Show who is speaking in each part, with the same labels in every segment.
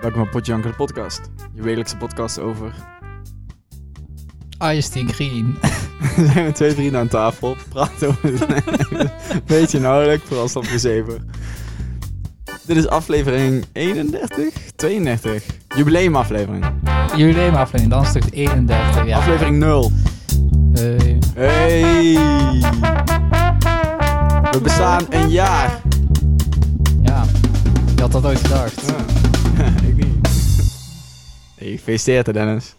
Speaker 1: Welkom bij Potjanker de podcast. Je wekelijkse podcast over...
Speaker 2: Ice Tea Green.
Speaker 1: Er zijn twee vrienden aan tafel, praten over het beetje nauwelijks, vooral stapje 7. Dit is aflevering 31? 32? Jubileumaflevering.
Speaker 2: Jubileumaflevering, dan stuk 31. Ja.
Speaker 1: Aflevering 0.
Speaker 2: Eh,
Speaker 1: Hey! We bestaan een jaar.
Speaker 2: ja, je had dat ooit gedacht.
Speaker 1: Ik niet. Hey, gefeliciteerd hè, Dennis.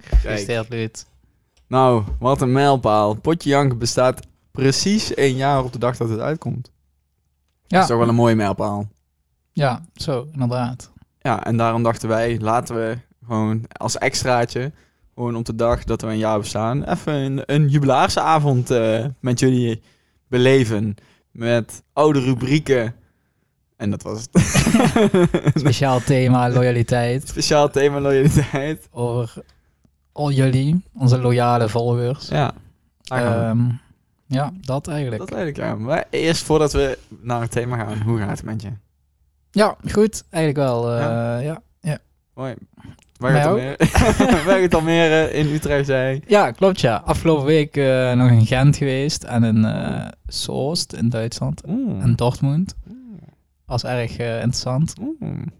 Speaker 2: Gefeliciteerd, Lut.
Speaker 1: Nou, wat een mijlpaal. Potje Jank bestaat precies één jaar op de dag dat het uitkomt. Dat is toch
Speaker 2: Ja,
Speaker 1: wel een mooie mijlpaal.
Speaker 2: ja, zo, inderdaad.
Speaker 1: Ja, en daarom dachten wij, laten we gewoon als extraatje, gewoon op de dag dat we een jaar bestaan, even een, een jubilaarsavond eh, met jullie beleven. Met oude rubrieken. En dat was het.
Speaker 2: Speciaal thema loyaliteit
Speaker 1: Speciaal thema loyaliteit.
Speaker 2: over al jullie, onze loyale volgers.
Speaker 1: Ja. daar gaan we.
Speaker 2: Ehm, ja, dat eigenlijk.
Speaker 1: Ah, dat weet ik ja. Maar eerst voordat we naar het thema gaan, hoe gaat het met je?
Speaker 2: Ja, goed, eigenlijk wel. eh,
Speaker 1: Ja.
Speaker 2: ja. Ja.
Speaker 1: Hoi.
Speaker 2: Mij
Speaker 1: Waar ik het Almere in Utrecht zei.
Speaker 2: klopt ja. Afgelopen week eh, nog in Gent geweest en in eh Soest in Duitsland
Speaker 1: Mm.
Speaker 2: en Dortmund. was erg eh, interessant.
Speaker 1: Mm.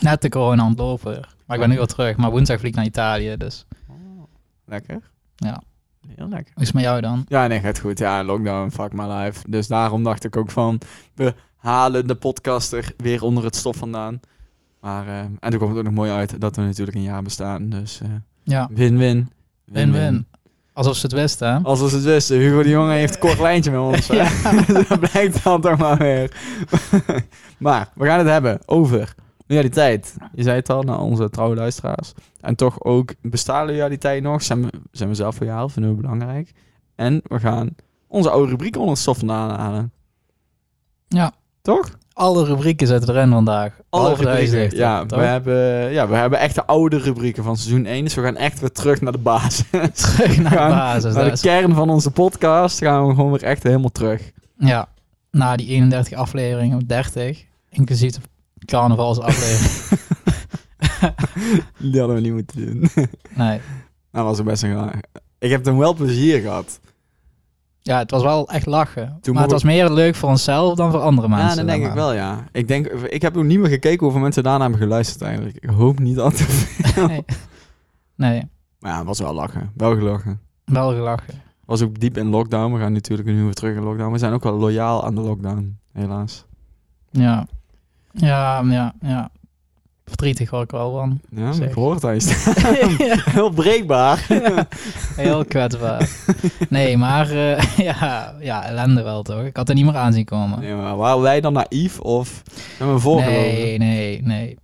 Speaker 2: Net de corona aan het lopen weer. Maar ik ben nu weer terug. Maar woensdag vlieg ik naar Italië, dus...
Speaker 1: Oh. Lekker.
Speaker 2: Ja.
Speaker 1: Heel lekker.
Speaker 2: Hoe is het met jou dan?
Speaker 1: Ja, nee, gaat goed. Ja, lockdown, fuck my life. Dus daarom dacht ik ook van, we halen de podcaster weer onder het stof vandaan. Maar, eh, en toen komt het ook nog mooi uit dat we natuurlijk een jaar bestaan. Dus eh,
Speaker 2: Ja,
Speaker 1: win-win.
Speaker 2: win-win. Alsof ze het wisten, hè?
Speaker 1: Als we het wisten, Hugo de Jonge heeft een kort lijntje met ons. hè. dat blijkt dan toch maar weer. maar we gaan het hebben over loyaliteit. Je zei het al, naar onze trouwe luisteraars. En toch ook bestaat loyaliteit nog? Zijn we, zijn we zelf loyaal? Vinden we belangrijk? En we gaan onze oude rubriek onder het stof vandaan halen.
Speaker 2: Ja.
Speaker 1: Toch?
Speaker 2: Alle rubrieken zitten erin vandaag. Behalve de huisdichter,
Speaker 1: Ja we,
Speaker 2: toch?
Speaker 1: hebben, ja, we hebben echt de oude rubrieken van seizoen 1. Dus we gaan echt weer terug naar de basis.
Speaker 2: Dus Terug naar de
Speaker 1: gaan
Speaker 2: basis.
Speaker 1: naar de
Speaker 2: dus.
Speaker 1: kern van onze podcast gaan we gewoon weer echt helemaal terug.
Speaker 2: Ja, na die 31 afleveringen, of 30, inclusief de carnavalsaflevering.
Speaker 1: Die hadden we niet moeten doen. Nou,
Speaker 2: nee.
Speaker 1: dat Nou, was ook best een graag. Ik heb dan wel plezier gehad.
Speaker 2: Ja, het was wel echt lachen. maar
Speaker 1: mocht-
Speaker 2: het was meer leuk voor onszelf dan voor andere mensen.
Speaker 1: ja, dat denk
Speaker 2: zeg
Speaker 1: ik
Speaker 2: maar.
Speaker 1: wel, ja. Ik, denk, ik heb ook niet meer gekeken hoeveel mensen daarna hebben geluisterd eigenlijk. Ik hoop niet dat.
Speaker 2: Nee,
Speaker 1: Maar ja, het was wel lachen. Wel gelachen.
Speaker 2: wel gelachen.
Speaker 1: Was ook diep in lockdown. We gaan natuurlijk nu weer terug in lockdown. We zijn ook wel loyaal aan de lockdown, helaas.
Speaker 2: Ja. Ja, ja, ja. Verdrietig word ik wel van.
Speaker 1: Ja,
Speaker 2: Zeker.
Speaker 1: ik hoor het aan je stem. Heel breekbaar.
Speaker 2: Heel kwetsbaar. Nee, maar eh, ja, ja, ellende wel toch? Ik had er niet meer aan zien komen.
Speaker 1: Nee, maar waren wij dan naïef of hebben we voorgelopen?
Speaker 2: Nee, nee, nee.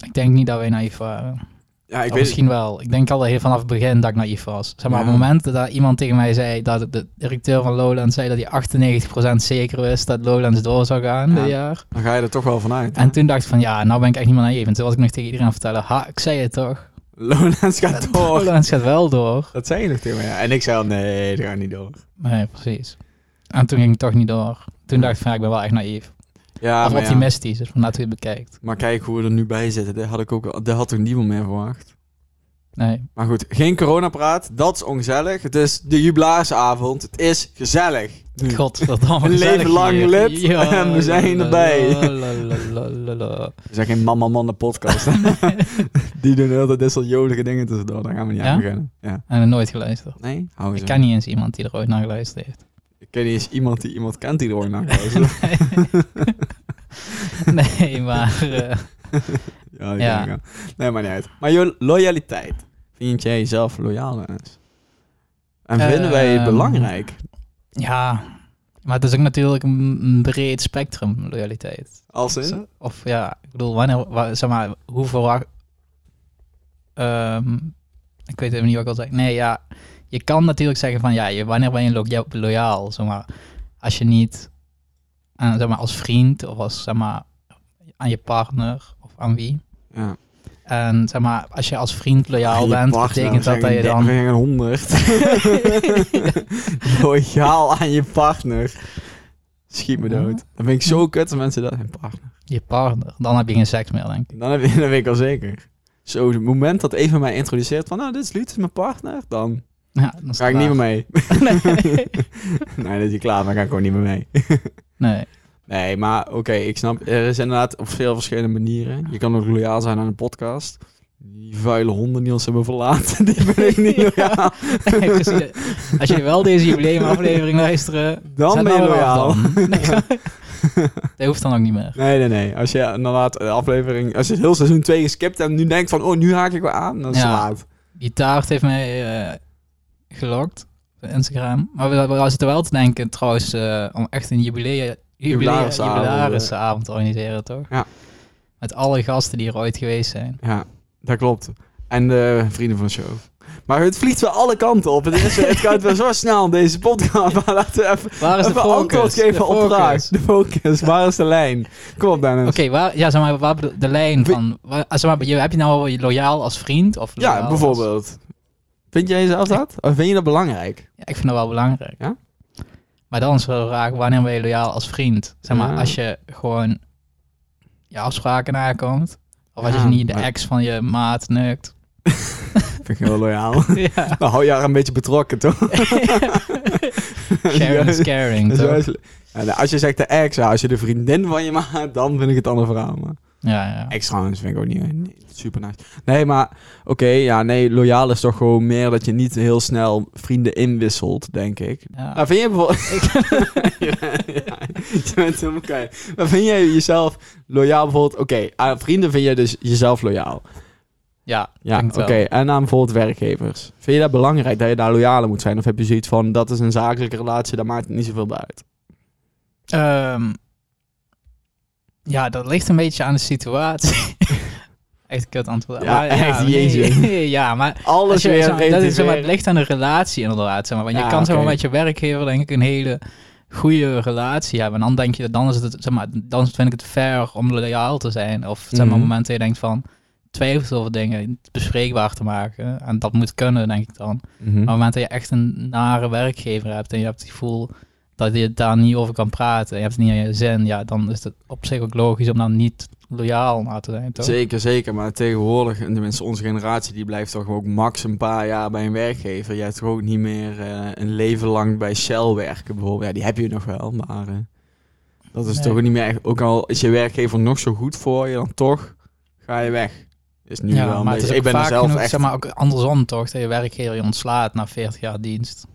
Speaker 2: Ik denk niet dat wij naïef waren.
Speaker 1: Ja, ik
Speaker 2: Of
Speaker 1: weet
Speaker 2: misschien wel. Ik denk al heel vanaf het begin dat ik naïef was. Zeg maar,
Speaker 1: Ja.
Speaker 2: op het moment dat iemand tegen mij zei dat de directeur van Lowlands zei dat hij 98% zeker wist dat Lowlands door zou gaan
Speaker 1: Ja.
Speaker 2: dit jaar.
Speaker 1: Dan ga je er toch wel vanuit.
Speaker 2: En toen dacht ik van ja, nou ben ik echt niet meer naïef. En toen was ik nog tegen iedereen aan het vertellen, ha, ik zei het toch.
Speaker 1: Lowlands gaat door.
Speaker 2: Lowlands gaat wel door.
Speaker 1: Dat zei je nog tegen mij. ja. En ik zei al, nee, dat gaat niet door.
Speaker 2: Nee, precies. En toen ging het toch niet door. Toen dacht ik van ja, ik ben wel echt naïef.
Speaker 1: Ja,
Speaker 2: of
Speaker 1: maar, ja.
Speaker 2: optimistisch, dus vanuit hoe je het bekijkt.
Speaker 1: maar kijk hoe we er nu bij zitten. Dat had ik ook al- dat had toch niemand meer verwacht.
Speaker 2: Nee.
Speaker 1: Maar goed, geen coronapraat. Dat is ongezellig. Het is de jubilaarsavond. Het is gezellig. Nu.
Speaker 2: Godverdamme.
Speaker 1: Een
Speaker 2: gezellig
Speaker 1: Hm. leven lang
Speaker 2: hier.
Speaker 1: lid en we zijn
Speaker 2: la,
Speaker 1: erbij.
Speaker 2: la, la, la, la, la.
Speaker 1: We zijn geen mama man de podcast. Die doen heel dat dit soort jolige dingen tussendoor. Daar gaan we niet aan
Speaker 2: Ja?
Speaker 1: beginnen. Ja.
Speaker 2: En nooit geluisterd.
Speaker 1: Nee? Hou eens
Speaker 2: Ik
Speaker 1: op.
Speaker 2: ken niet eens iemand die er ooit naar geluisterd heeft.
Speaker 1: Ik ken niet eens iemand die iemand kent die er ooit naar luistert.
Speaker 2: Nee, maar... eh,
Speaker 1: ja, die ken
Speaker 2: Ja.
Speaker 1: ik wel. Nee, maar niet uit. Maar je loyaliteit. Vind jij jezelf loyaal, Dennis? En vinden wij het
Speaker 2: Ehm,
Speaker 1: belangrijk?
Speaker 2: ja, maar het is ook natuurlijk een een breed spectrum loyaliteit.
Speaker 1: Als in?
Speaker 2: Zo- Of ja, ik bedoel, wanneer, wa- zeg maar, hoe verwacht... Ehm, ik weet even niet wat ik wil zeggen. Nee, ja, je kan natuurlijk zeggen van, ja, je, wanneer ben je lo- ja, loyaal, zeg maar. Als je niet, aan, zeg maar, als vriend of als, zeg maar, aan je partner of aan wie.
Speaker 1: Ja.
Speaker 2: En zeg maar, als je als vriend loyaal bent, betekent dat dat je dan...
Speaker 1: een 100. Loyaal aan je partner. Schiet me dood. Dan vind ik zo kut dat mensen dat... Een partner.
Speaker 2: Je partner. Dan heb je geen seks meer, denk ik.
Speaker 1: Dan, heb, je- dan weet ik al zeker. Zo, het moment dat even mij introduceert van... Nou, dit is Luut, dit is mijn partner. Dan
Speaker 2: Ja, dan is
Speaker 1: ga
Speaker 2: het
Speaker 1: ik niet meer
Speaker 2: klaar.
Speaker 1: mee.
Speaker 2: nee.
Speaker 1: nee, dat is niet klaar. Dan ga ik gewoon niet meer mee.
Speaker 2: nee.
Speaker 1: Nee, maar oké, ik snap. Er is inderdaad op veel verschillende manieren. Je kan ook loyaal zijn aan een podcast. Die vuile honden die ons hebben verlaten, die ben ik niet
Speaker 2: Ja.
Speaker 1: loyaal.
Speaker 2: Precies. Als je wel deze jubileumaflevering luisteren,
Speaker 1: Dan
Speaker 2: zet
Speaker 1: ben je
Speaker 2: nou weer af
Speaker 1: loyaal.
Speaker 2: dan. Nee, dat hoeft dan ook niet meer.
Speaker 1: Nee, nee, nee. Als je inderdaad de aflevering, als je het heel seizoen 2 geskipt en nu denkt van, oh, nu haak ik weer aan, dan is het
Speaker 2: Ja.
Speaker 1: laat.
Speaker 2: Die taart heeft mij eh, gelokt op Instagram. Maar we, we zitten wel te denken trouwens eh, om echt een jubileum, jubileum,
Speaker 1: Jubilarische avond,
Speaker 2: jubilarisavond te organiseren, toch?
Speaker 1: eh. Ja.
Speaker 2: Met alle gasten die er ooit geweest zijn.
Speaker 1: Ja, dat klopt. En de vrienden van de show. Maar het vliegt wel alle kanten op. Het, is, het gaat wel zo snel, deze podcast. Maar laten we even,
Speaker 2: Waar is de
Speaker 1: even
Speaker 2: focus?
Speaker 1: antwoord
Speaker 2: De
Speaker 1: geven op
Speaker 2: focus.
Speaker 1: vraag. De focus, waar is de lijn? Kom op, Dennis.
Speaker 2: Oké, waar, ja, zeg maar, waar bedo- de lijn
Speaker 1: We-
Speaker 2: van... Waar, ah, zeg maar, je- heb je nou loyaal als vriend? Of loyaal
Speaker 1: Ja,
Speaker 2: als-
Speaker 1: bijvoorbeeld. Vind jij zelf dat? Of vind je dat belangrijk?
Speaker 2: Ja, ik vind dat wel belangrijk.
Speaker 1: Ja?
Speaker 2: Maar dan is wel de vraag, wanneer ben je loyaal als vriend? Zeg maar,
Speaker 1: Ja.
Speaker 2: als je gewoon je afspraken nakomt. Of als
Speaker 1: Ja,
Speaker 2: je niet de
Speaker 1: maar-
Speaker 2: ex van je maat neukt.
Speaker 1: Vind ik heel loyaal.
Speaker 2: ja.
Speaker 1: nou, hou je haar een beetje betrokken, toch?
Speaker 2: Sharing is caring,
Speaker 1: Dat is
Speaker 2: toch?
Speaker 1: juist- Ja, nou, als je zegt de ex, ja, als je de vriendin van je maakt, dan vind ik het ander verhaal. Maar
Speaker 2: Ja, ja.
Speaker 1: ex trouwens vind ik ook niet, eh, niet super nice. Nee, maar oké, ja, nee, loyaal is toch gewoon meer dat je niet heel snel vrienden inwisselt, denk ik.
Speaker 2: Ja.
Speaker 1: Nou, vind je bijvoorbeeld... ja, ja, je bent helemaal kei. Maar vind jij jezelf loyaal bijvoorbeeld... Oké, aan vrienden vind je dus jezelf loyaal.
Speaker 2: Ja,
Speaker 1: Ja,
Speaker 2: denk het
Speaker 1: oké.
Speaker 2: wel.
Speaker 1: En aan bijvoorbeeld werkgevers. Vind je dat belangrijk dat je daar loyaal aan moet zijn? Of heb je zoiets van, dat is een zakelijke relatie, daar maakt het niet zoveel bij uit?
Speaker 2: Ehm, ja, dat ligt een beetje aan de situatie. echt kut antwoord.
Speaker 1: Ja, echt,
Speaker 2: nee.
Speaker 1: jeetje.
Speaker 2: ja, maar als
Speaker 1: Alles
Speaker 2: je,
Speaker 1: weer
Speaker 2: zeg maar, dat is, zeg maar,
Speaker 1: relativeren.
Speaker 2: het ligt aan de relatie inderdaad. Zeg maar. Want
Speaker 1: Ja,
Speaker 2: je kan zeg maar,
Speaker 1: oké.
Speaker 2: met je werkgever denk ik een hele goede relatie hebben. En dan denk je, dat dan, is het, zeg maar, dan vind ik het fair om loyaal te zijn. Of zeg maar,
Speaker 1: Mhm.
Speaker 2: momenten dat je denkt van twijfels over dingen bespreekbaar te maken. En dat moet kunnen, denk ik dan.
Speaker 1: Mhm.
Speaker 2: Maar op het moment dat je echt een nare werkgever hebt en je hebt het gevoel dat je daar niet over kan praten, je hebt het niet aan je zin, ja, dan is het op zich ook logisch om dan niet loyaal naar te zijn, toch?
Speaker 1: Zeker, zeker. Maar tegenwoordig, en tenminste onze generatie, die blijft toch ook max een paar jaar bij een werkgever. Jij hebt toch ook niet meer eh, een leven lang bij Shell werken bijvoorbeeld. Ja, die heb je nog wel, maar eh, dat is
Speaker 2: Nee.
Speaker 1: toch ook niet meer... echt- Ook al is je werkgever nog zo goed voor je, dan toch ga je weg. Is nu
Speaker 2: ja,
Speaker 1: wel een
Speaker 2: maar
Speaker 1: beetje-
Speaker 2: het is ook
Speaker 1: Ik ben er
Speaker 2: vaak
Speaker 1: zelf
Speaker 2: genoeg,
Speaker 1: echt...
Speaker 2: zeg maar, ook andersom toch, dat je werkgever je ontslaat na 40 jaar dienst.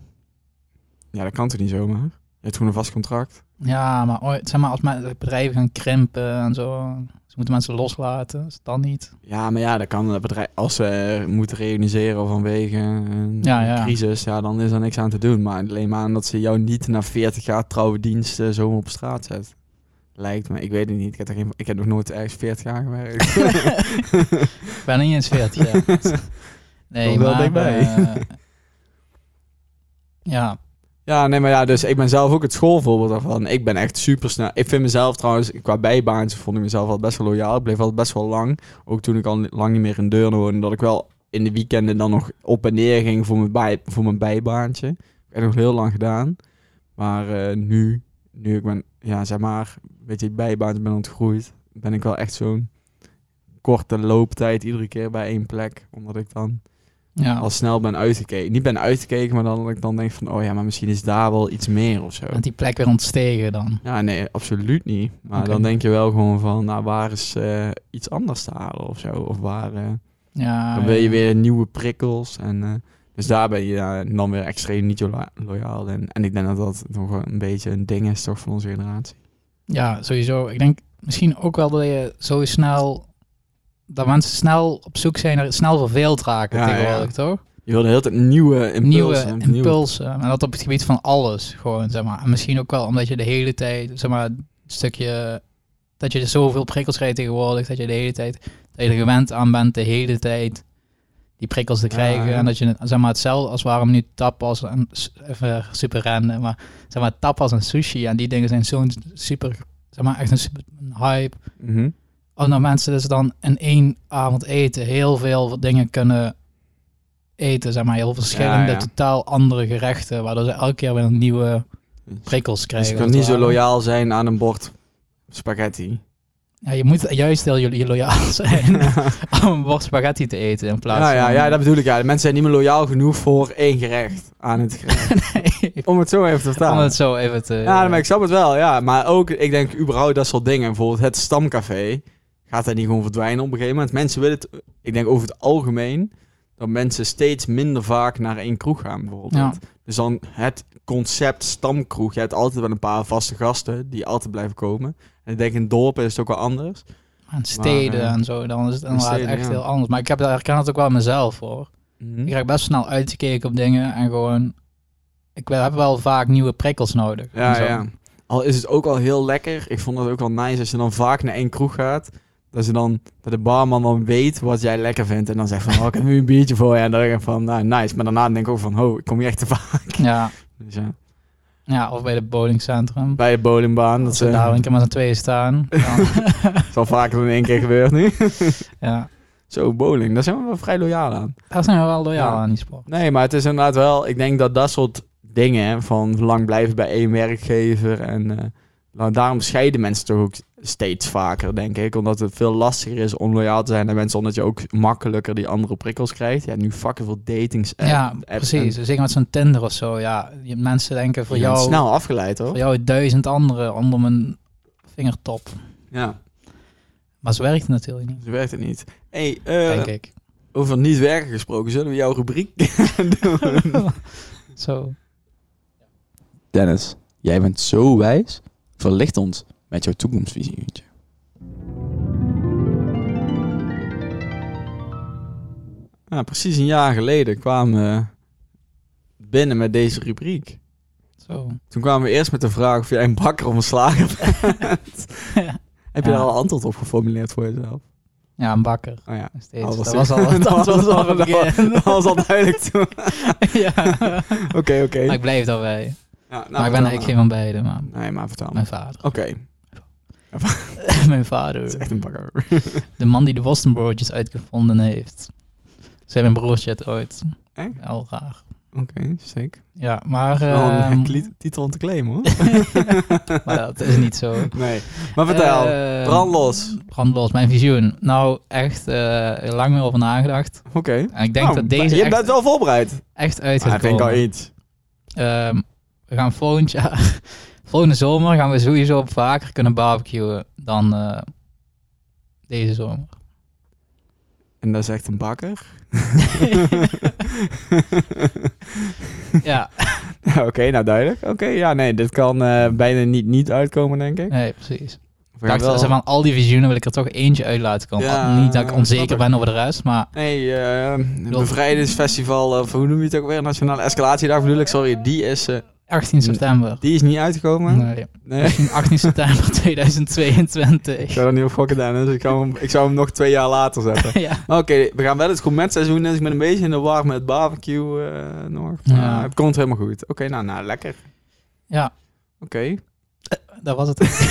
Speaker 1: Ja, dat kan toch niet zomaar? Je hebt gewoon een vast contract.
Speaker 2: Ja, maar ooit, zeg maar, als men- bedrijven gaan krimpen en zo, ze moeten mensen loslaten, is het dan niet.
Speaker 1: Ja, maar ja, dat kan het bedrijf... Als ze eh, moeten reorganiseren vanwege een
Speaker 2: Ja, ja.
Speaker 1: crisis, ja, dan is er niks aan te doen. Maar alleen maar aan dat ze jou niet na 40 jaar trouwe diensten zo op straat zet. Lijkt me. Ik weet het niet. Ik heb, er geen, ik heb nog nooit ergens 40 jaar gewerkt.
Speaker 2: Ik ben niet eens 40 jaar. Nee,
Speaker 1: Komt wel
Speaker 2: maar...
Speaker 1: dichtbij.
Speaker 2: eh, ja,
Speaker 1: ja, nee, maar ja, dus ik ben zelf ook het schoolvoorbeeld daarvan. Ik ben echt super snel. Ik vind mezelf trouwens, qua bijbaans vond ik mezelf al best wel loyaal. Ik bleef al best wel lang. Ook toen ik al ni- lang niet meer in Deurne woonde, dat ik wel in de weekenden dan nog op en neer ging voor mijn, bij, voor mijn bijbaantje. Ik heb nog heel lang gedaan. Maar eh, nu, nu ik ben, ja, zeg maar, weet je, bijbaantje ben ontgroeid, ben ik wel echt zo'n korte looptijd iedere keer bij één plek. Omdat ik dan
Speaker 2: ja.
Speaker 1: al snel ben uitgekeken. Niet ben uitgekeken, maar dan dat ik dan denk van... oh ja, maar misschien is daar wel iets meer of zo.
Speaker 2: Want die plek weer ontstegen dan.
Speaker 1: Ja, nee, absoluut niet. Maar
Speaker 2: Oké.
Speaker 1: dan denk je wel gewoon van... nou, waar is eh, iets anders te halen of zo? Of waar... eh,
Speaker 2: Ah, Ja,
Speaker 1: dan wil je weer nieuwe prikkels en... eh, dus daar ben je ja, dan weer extreem niet lo- loyaal in. En ik denk dat dat nog wel een beetje een ding is toch van onze generatie.
Speaker 2: Ja, sowieso. Ik denk misschien ook wel dat je zo snel... Dat mensen snel op zoek zijn, naar- snel verveeld raken
Speaker 1: Ja,
Speaker 2: tegenwoordig, toch?
Speaker 1: Je wil de hele tijd nieuwe
Speaker 2: Nieuwe
Speaker 1: impulsen.
Speaker 2: impulsen. En dat op het gebied van alles, gewoon, zeg maar. En misschien ook wel omdat je de hele tijd, zeg maar, het stukje... Dat je er zoveel prikkels krijgt tegenwoordig, dat je de hele tijd... Dat je er gewend aan bent de hele tijd die prikkels te
Speaker 1: Ja,
Speaker 2: krijgen.
Speaker 1: ja.
Speaker 2: En dat je, zeg maar, hetzelfde als waarom nu tapas en... s- Even super random, maar... Zeg maar, tapas en sushi en die dingen zijn zo'n super... Zeg maar, echt een super hype.
Speaker 1: Mhm.
Speaker 2: Oh, nou mensen dus dan in één avond eten heel veel dingen kunnen eten, zeg maar, heel verschillende,
Speaker 1: Ja, ja.
Speaker 2: totaal andere gerechten, waardoor ze elke keer weer een nieuwe prikkels
Speaker 1: Dus
Speaker 2: krijgen.
Speaker 1: je kan
Speaker 2: als
Speaker 1: niet
Speaker 2: het
Speaker 1: zo
Speaker 2: ware.
Speaker 1: loyaal zijn aan een bord spaghetti.
Speaker 2: Ja, je moet juist heel jullie loyaal zijn om een bord spaghetti te eten in plaats
Speaker 1: Ja, ja,
Speaker 2: van...
Speaker 1: ja, dat bedoel ik. Ja. De mensen zijn niet meer loyaal genoeg voor één gerecht aan het gerecht.
Speaker 2: Nee,
Speaker 1: Om het zo even te
Speaker 2: om
Speaker 1: vertalen.
Speaker 2: het zo even te...
Speaker 1: Ja, maar ik snap het wel, ja. Maar ook, ik denk überhaupt dat soort dingen. Bijvoorbeeld het stamcafé. Gaat dat niet gewoon verdwijnen op een gegeven moment? Mensen willen het, ik denk over het algemeen, dat mensen steeds minder vaak naar één kroeg gaan bijvoorbeeld.
Speaker 2: Ja.
Speaker 1: Dus dan het concept stamkroeg. Je hebt altijd wel een paar vaste gasten die altijd blijven komen. En ik denk in dorpen is het ook wel anders.
Speaker 2: Aan steden
Speaker 1: Maar, eh,
Speaker 2: en zo, dan is het
Speaker 1: aan
Speaker 2: inderdaad
Speaker 1: steden,
Speaker 2: echt
Speaker 1: ja.
Speaker 2: heel anders. Maar ik heb, daar herken het ook wel mezelf, hoor. Ik raak best snel uitgekeken op dingen en gewoon... Ik wel- heb wel vaak nieuwe prikkels nodig. en
Speaker 1: Ja,
Speaker 2: zo.
Speaker 1: ja. Al is het ook al heel lekker. Ik vond het ook wel nice als je dan vaak naar één kroeg gaat. Dat, ze dan, dat de barman dan weet wat jij lekker vindt. En dan zegt van, oh, ik heb nu een biertje voor je. En dan denk ik van, nou, nice. Maar daarna denk ik ook van, oh, ik kom hier echt te vaak.
Speaker 2: Ja.
Speaker 1: Dus ja.
Speaker 2: ja, of bij het bowlingcentrum.
Speaker 1: Bij de bowlingbaan. Dat eh,
Speaker 2: Als we
Speaker 1: ze
Speaker 2: daar een keer met z'n tweeën staan. dan-
Speaker 1: is al vaker dan één keer gebeurd nu.
Speaker 2: ja,
Speaker 1: Zo, bowling. Daar zijn we wel vrij loyaal aan.
Speaker 2: daar zijn we wel loyaal
Speaker 1: Ja.
Speaker 2: aan die sport.
Speaker 1: Nee, maar het is inderdaad wel... Ik denk dat dat soort dingen... van lang blijven bij één werkgever... en eh, nou, daarom scheiden mensen toch ook steeds vaker, denk ik. Omdat het veel lastiger is om loyaal te zijn naar mensen... omdat je ook makkelijker die andere prikkels krijgt. Ja, nu fucking veel datings
Speaker 2: ja, precies. Zeker met zo'n Tinder of zo. Ja, Je- mensen denken voor
Speaker 1: Voor jou...
Speaker 2: jou,
Speaker 1: snel afgeleid, hoor.
Speaker 2: voor jou duizend anderen onder mijn vingertop.
Speaker 1: Ja,
Speaker 2: Maar zo werkt het natuurlijk niet,
Speaker 1: zo werkt het niet. hey,
Speaker 2: denk
Speaker 1: eh,
Speaker 2: ik.
Speaker 1: over niet werken gesproken... zullen we jouw rubriek doen?
Speaker 2: Zo.
Speaker 1: Dennis, jij bent zo wijs. Verlicht ons met jouw toekomstvisie. Nou, precies een jaar geleden kwamen we binnen met deze rubriek.
Speaker 2: zo.
Speaker 1: Toen kwamen we eerst met de vraag of jij een bakker of een slager bent.
Speaker 2: Ja.
Speaker 1: Heb je
Speaker 2: Ja.
Speaker 1: daar al antwoord op geformuleerd voor jezelf?
Speaker 2: Ja, een bakker.
Speaker 1: Oh ja.
Speaker 2: nog Steeds.
Speaker 1: Oh, Nou,
Speaker 2: dat,
Speaker 1: was
Speaker 2: was
Speaker 1: die-
Speaker 2: al,
Speaker 1: Dat
Speaker 2: dat was
Speaker 1: was al-
Speaker 2: al het begin.
Speaker 1: Dat was al duidelijk toen. Oké,
Speaker 2: ja. Maar
Speaker 1: oké.
Speaker 2: ik bleef daarbij.
Speaker 1: Ja, nou,
Speaker 2: maar
Speaker 1: vertel
Speaker 2: ik ben eigenlijk geen van beiden, maar
Speaker 1: Nee, maar vertel me.
Speaker 2: mijn
Speaker 1: Oké,
Speaker 2: vader.
Speaker 1: dat
Speaker 2: mijn
Speaker 1: is
Speaker 2: vader.
Speaker 1: echt een bakker.
Speaker 2: De man die de Boston Broodjes uitgevonden heeft. Zei mijn broertje het ooit.
Speaker 1: Echt? Oh,
Speaker 2: Al raar.
Speaker 1: Oké, zeker.
Speaker 2: Ja, maar...
Speaker 1: Wel een
Speaker 2: ehm,
Speaker 1: gek li- titel om te claimen hoor.
Speaker 2: maar dat is niet zo.
Speaker 1: Nee. Maar vertel,
Speaker 2: Eh,
Speaker 1: brand los.
Speaker 2: Brandlos, mijn visioen. Nou, echt eh, lang meer over nagedacht.
Speaker 1: Oké.
Speaker 2: En ik denk
Speaker 1: Nou,
Speaker 2: dat deze
Speaker 1: Je
Speaker 2: echt,
Speaker 1: bent wel voorbereid. Ah,
Speaker 2: echt uit gaat
Speaker 1: ik e- denk al
Speaker 2: komen.
Speaker 1: iets.
Speaker 2: Ehm, we gaan volgend jaar, volgende zomer gaan we sowieso vaker kunnen barbecuen dan eh, deze zomer.
Speaker 1: En dat is echt een bakker.
Speaker 2: ja,
Speaker 1: Oké, nou duidelijk. Oké, ja, nee, dit kan eh, bijna niet, niet uitkomen, denk ik.
Speaker 2: nee, precies.
Speaker 1: We
Speaker 2: Ik
Speaker 1: gaan
Speaker 2: dacht, Eh, zeg maar, aan al die visioenen wil ik er toch eentje uit laten komen.
Speaker 1: Ja,
Speaker 2: Al- niet dat ik
Speaker 1: snap
Speaker 2: onzeker
Speaker 1: ik.
Speaker 2: ben over de rest, maar
Speaker 1: Nee, eh bevrijdingsfestival, eh, of hoe noem je het ook weer? Nationale Escalatiedag bedoel ik, sorry. Die is, eh,
Speaker 2: 18 september.
Speaker 1: die is niet uitgekomen. Nee.
Speaker 2: Nee, 18 september 2022.
Speaker 1: Ik zou er niet op gokken, Dennis. Ik zou, hem, ik zou hem nog twee jaar later zetten.
Speaker 2: ja.
Speaker 1: Maar Oké, we gaan wel het gourmetseizoen in. Dus ik ben een beetje in de war met barbecue eh, nog.
Speaker 2: Ja.
Speaker 1: Maar het komt helemaal goed. Oké, nou, nou, lekker.
Speaker 2: ja,
Speaker 1: Oké.
Speaker 2: dat was het.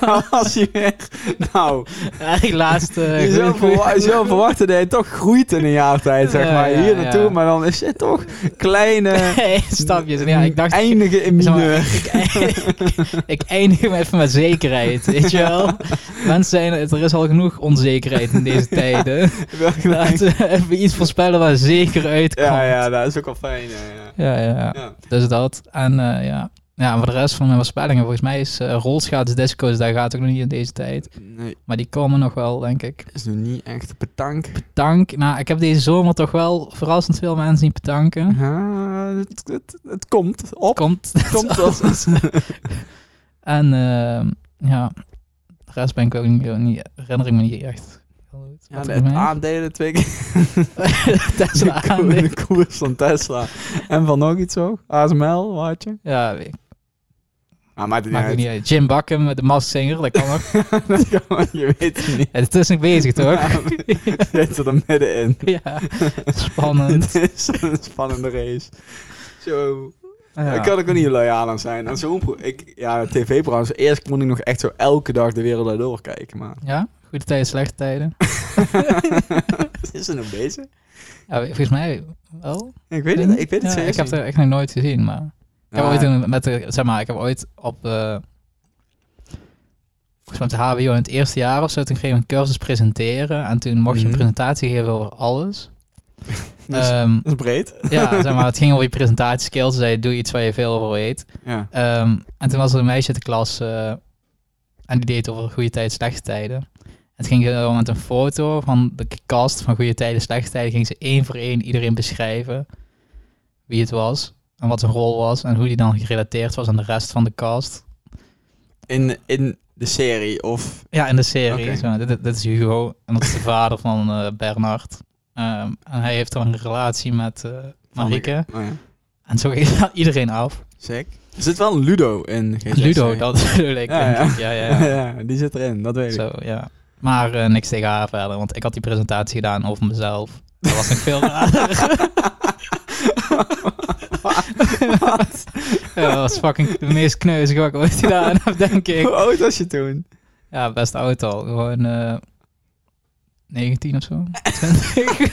Speaker 1: Nou was hij weer. Nou,
Speaker 2: Eigenlijk laatste. eh,
Speaker 1: je zou, verwa- je zou verwachten dat hij toch groeit in een jaar tijd, zeg
Speaker 2: Ja,
Speaker 1: maar.
Speaker 2: ja,
Speaker 1: Hier naartoe,
Speaker 2: ja.
Speaker 1: maar dan is het toch kleine...
Speaker 2: stapjes. En Ja, ik dacht,
Speaker 1: Eindigen in
Speaker 2: Zeg maar,
Speaker 1: mineur.
Speaker 2: ik, ik, ik eindig hem even met zekerheid, weet je wel. Mensen zijn, er is al genoeg onzekerheid in deze tijden. Laten we even iets voorspellen waar zeker uitkomt.
Speaker 1: Ja, ja, dat is ook wel fijn. Ja, ja.
Speaker 2: ja, ja.
Speaker 1: Ja.
Speaker 2: Dus dat. En eh, ja. ja, voor de rest van mijn voorspellingen, volgens mij is eh rolschaatsdisco's, daar gaat ook nog niet in deze tijd.
Speaker 1: Nee,
Speaker 2: Maar die komen nog wel, denk ik.
Speaker 1: is nog niet echt petank.
Speaker 2: Dank. Nou, ik heb deze zomer toch wel verrassend veel mensen die bedanken.
Speaker 1: Ah, het, het, het komt op.
Speaker 2: Hm? Komt.
Speaker 1: Komt op.
Speaker 2: En eh, ja, de rest ben ik ook niet, niet herinner ik me niet echt. heel goed.
Speaker 1: Ja,
Speaker 2: Wat
Speaker 1: de
Speaker 2: er mee-
Speaker 1: aandelen twee keer.
Speaker 2: Tesla
Speaker 1: de, ko-
Speaker 2: aandelen.
Speaker 1: de koers van Tesla. En van nog iets ook. ASML, wat je.
Speaker 2: Ja, weet ik.
Speaker 1: Ah, maakt het niet
Speaker 2: maakt ook
Speaker 1: uit.
Speaker 2: niet uit. Jim Bakken met de Masked Singer, dat kan ook.
Speaker 1: Dat kan wel, je weet het niet.
Speaker 2: Het is nog bezig, toch?
Speaker 1: Ja, Je zit er middenin.
Speaker 2: ja, spannend.
Speaker 1: Het is een spannende race. Zo.
Speaker 2: Ja.
Speaker 1: Ik kan er ook niet loyaal aan zijn. Aan zo'n pro- ik, ja, tv-programma's. Eerst kon ik nog echt zo elke dag de wereld daardoor kijken. Maar
Speaker 2: Ja, goede tijden, slechte tijden.
Speaker 1: is er nog bezig?
Speaker 2: Ja, volgens mij wel.
Speaker 1: Ik weet het, ik weet het
Speaker 2: Ja,
Speaker 1: serieus
Speaker 2: ik heb
Speaker 1: niet.
Speaker 2: het echt nog nooit gezien, maar Ik heb ooit een, met de, zeg maar, ik heb ooit op eh, volgens mij op de HBO in het eerste jaar of zo, toen kreeg ik een cursus presenteren en toen mocht je
Speaker 1: Mhm. Dus-
Speaker 2: een presentatie geven over alles.
Speaker 1: dat, is,
Speaker 2: Ehm,
Speaker 1: dat is breed.
Speaker 2: ja, zeg maar, het ging over je presentatieskills, zei doe iets waar je veel over weet.
Speaker 1: Ja.
Speaker 2: Ehm, en toen was er een meisje uit de klas eh, en die deed het over goede tijden, slechte tijden. En het ging eh, met een foto van de cast van goede tijden, slechte tijden, ging ze één voor één iedereen beschrijven wie het was en wat zijn rol was en hoe die dan gerelateerd was aan de rest van de cast.
Speaker 1: In, in de serie of...
Speaker 2: Ja, in de serie.
Speaker 1: Oké.
Speaker 2: Zo, dit, dit is Hugo en dat is de vader van eh, Bernard. Ehm, en hij heeft dan een relatie met eh
Speaker 1: van de-
Speaker 2: Marieke.
Speaker 1: Oh, ja.
Speaker 2: En zo ging iedereen af.
Speaker 1: Sick. Er zit wel een Ludo in. GTA
Speaker 2: Ludo,
Speaker 1: serie.
Speaker 2: dat bedoel ik.
Speaker 1: Ja,
Speaker 2: denk ik. ja, ja. ja.
Speaker 1: ja, die zit erin, dat weet ik.
Speaker 2: Zo, ja. Maar eh, niks tegen haar verder, want ik had die presentatie gedaan over mezelf. Dat was nog veel raarder. ja, dat was fucking de meest kneuzige wat ik ooit gedaan heb, denk
Speaker 1: Hoe
Speaker 2: ik.
Speaker 1: oud was Oh, je toen?
Speaker 2: Ja, best oud al. Gewoon eh 19 of zo. 20.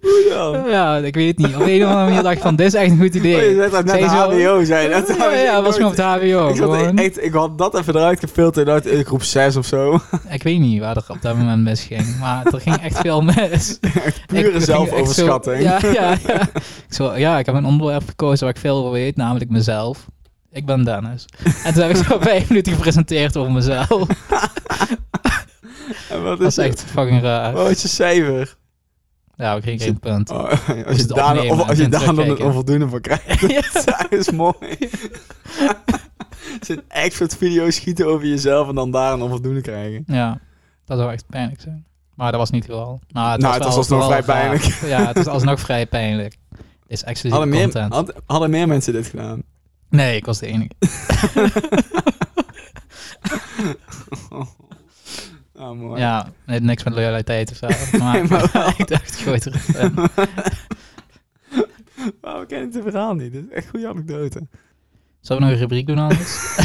Speaker 1: Hoe dan? Oh,
Speaker 2: ja, ik weet het niet. Op een of andere manier dacht ik van, dit is echt een goed
Speaker 1: je
Speaker 2: idee.
Speaker 1: zei dat net
Speaker 2: Zij
Speaker 1: de
Speaker 2: zo-
Speaker 1: HBO, zei je net.
Speaker 2: Ja, ja, was me op de HBO.
Speaker 1: ik, zat
Speaker 2: gewoon.
Speaker 1: echt, ik had dat even eruit gefilterd uit in groep 6 of zo.
Speaker 2: Ik weet niet waar er op dat moment mis ging, maar er ging echt veel mis. Ik- ik
Speaker 1: Pure
Speaker 2: ging
Speaker 1: zelfoverschatting.
Speaker 2: echt Zo, ja, ja, ja. Ik, zo, ja, ik heb een onderwerp gekozen waar ik veel over weet, namelijk mezelf. Ik ben Dennis. En toen heb ik zo vijf minuten gepresenteerd over mezelf.
Speaker 1: En wat
Speaker 2: Dat
Speaker 1: is
Speaker 2: is echt fucking raar.
Speaker 1: Wat is je cijfer?
Speaker 2: Ja, ik kreeg geen punt.
Speaker 1: Oh, als je
Speaker 2: het
Speaker 1: daar,
Speaker 2: opnemen
Speaker 1: of, als
Speaker 2: en
Speaker 1: je daar dan een
Speaker 2: terugkijken.
Speaker 1: onvoldoende voor krijgt, dat is mooi. Er zit echt soort video's schieten over jezelf en dan daar een onvoldoende krijgen.
Speaker 2: Ja, dat zou echt pijnlijk zijn. Maar dat was niet het geval. Maar het
Speaker 1: Nou,
Speaker 2: was,
Speaker 1: het
Speaker 2: wel-
Speaker 1: was alsnog
Speaker 2: wel
Speaker 1: vrij
Speaker 2: raar.
Speaker 1: pijnlijk.
Speaker 2: Ja, het was alsnog vrij pijnlijk. Dit is exclusieve
Speaker 1: Hadden meer,
Speaker 2: content.
Speaker 1: had- hadden meer mensen dit gedaan?
Speaker 2: Nee, ik was de enige.
Speaker 1: Oh, mooi.
Speaker 2: Ja, nee, niks met loyaliteit of zo. Maar,
Speaker 1: Nee, maar wel.
Speaker 2: ik dacht, ik gooi het erin.
Speaker 1: Wauw, we kennen het verhaal niet. Dit is echt goede anekdote.
Speaker 2: Zullen we nog een rubriek doen anders?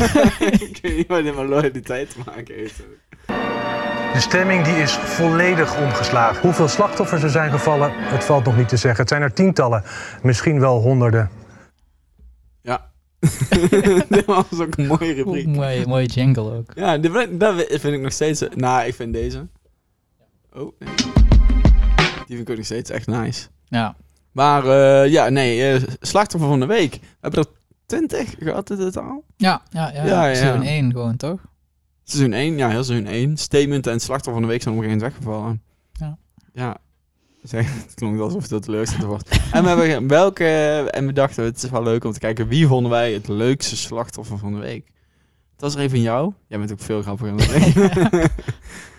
Speaker 1: ik weet niet wat dit met loyaliteit te maken heeft.
Speaker 3: De stemming die is volledig omgeslagen. Hoeveel slachtoffers er zijn gevallen, het valt nog niet te zeggen. Het zijn er tientallen, misschien wel honderden.
Speaker 1: Ja. dit was ook een mooie rubriek.
Speaker 2: Mooie, mooie jingle ook.
Speaker 1: Ja, dit vind, dat vind ik nog steeds... Nou, ik vind deze. Oh, nee. Die vind ik ook nog steeds echt nice.
Speaker 2: Ja,
Speaker 1: Maar eh, ja, nee, eh, slachtoffer van de week. We hebben er 20 gehad in totaal.
Speaker 2: ja, ja. ja,
Speaker 1: Ja, ja.
Speaker 2: Seizoen 1 gewoon, toch?
Speaker 1: Seizoen 1, ja, heel seizoen 1. Statement en slachtoffer van de week zijn op een gegeven moment weggevallen.
Speaker 2: Ja.
Speaker 1: Ja. Zeg, het klonk alsof het het teleurstellend wordt. en, we hebben welke, en we dachten, het is wel leuk om te kijken wie vonden wij het leukste slachtoffer van de week. Het was er even jou. Jij bent ook veel grappiger dan ik.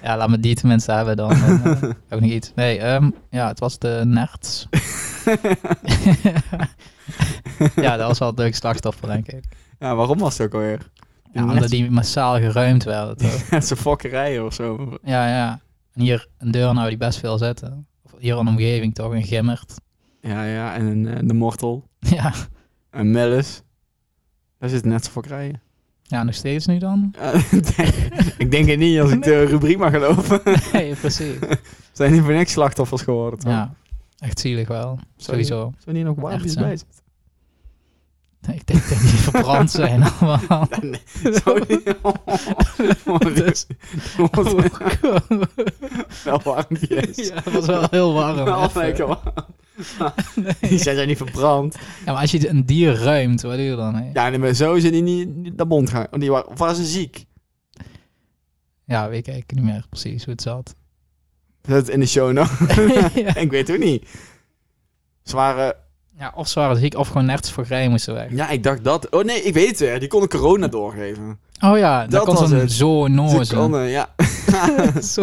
Speaker 2: Ja, laat me die tenminste hebben dan. dan eh, heb ik nog iets. Nee, ehm, ja, het was de nerds. ja, dat was wel een leuk slachtoffer, denk ik.
Speaker 1: ja, waarom was het ook alweer?
Speaker 2: Ja, omdat die massaal geruimd werden, toch?
Speaker 1: Ze fokkerijen of zo.
Speaker 2: Ja, ja. En hier een deur nou die best veel zetten. Of hier een omgeving toch, een gimmerd.
Speaker 1: Ja, ja, en eh, de mortel.
Speaker 2: Ja.
Speaker 1: En Mellis. Daar zit net zo fokkerijen.
Speaker 2: ja, nog steeds nu dan?
Speaker 1: Ja, ik denk het niet als ik de rubriek mag geloven.
Speaker 2: Nee, precies.
Speaker 1: Zijn niet voor niks slachtoffers geworden. toch?
Speaker 2: Ja, echt zielig wel.
Speaker 1: Zou je-
Speaker 2: Sowieso.
Speaker 1: Zijn hier nog
Speaker 2: Echt
Speaker 1: warmpjes
Speaker 2: zo.
Speaker 1: bij zitten?
Speaker 2: Nee, ik denk dat die verbrand zijn allemaal.
Speaker 1: Zo niet.
Speaker 2: Dus-
Speaker 1: Wel warmpjes.
Speaker 2: ja, het was wel heel warm.
Speaker 1: Wel
Speaker 2: even.
Speaker 1: lekker warm. Die zijn zijn niet verbrand.
Speaker 2: Ja, maar als je een dier ruimt, wat doe je dan? Hè? Ja.
Speaker 1: Ja, nee, maar zo zijn die niet niet naar bond gaan. Oh, die waren, of waren ze ziek?
Speaker 2: weet ik eigenlijk niet meer precies hoe het zat.
Speaker 1: Zet het in de show nog.
Speaker 2: ja.
Speaker 1: ik weet het ook niet. Ze waren...
Speaker 2: ja, of ze waren ziek, of gewoon nergens voor grij moesten weg.
Speaker 1: Ja, ik dacht dat. Oh nee, ik weet het weer. Die konden corona doorgeven.
Speaker 2: Oh ja,
Speaker 1: Dat
Speaker 2: dan kon
Speaker 1: was
Speaker 2: zo'n
Speaker 1: het. ze
Speaker 2: zoonoze.
Speaker 1: konden, ja.
Speaker 2: Zo.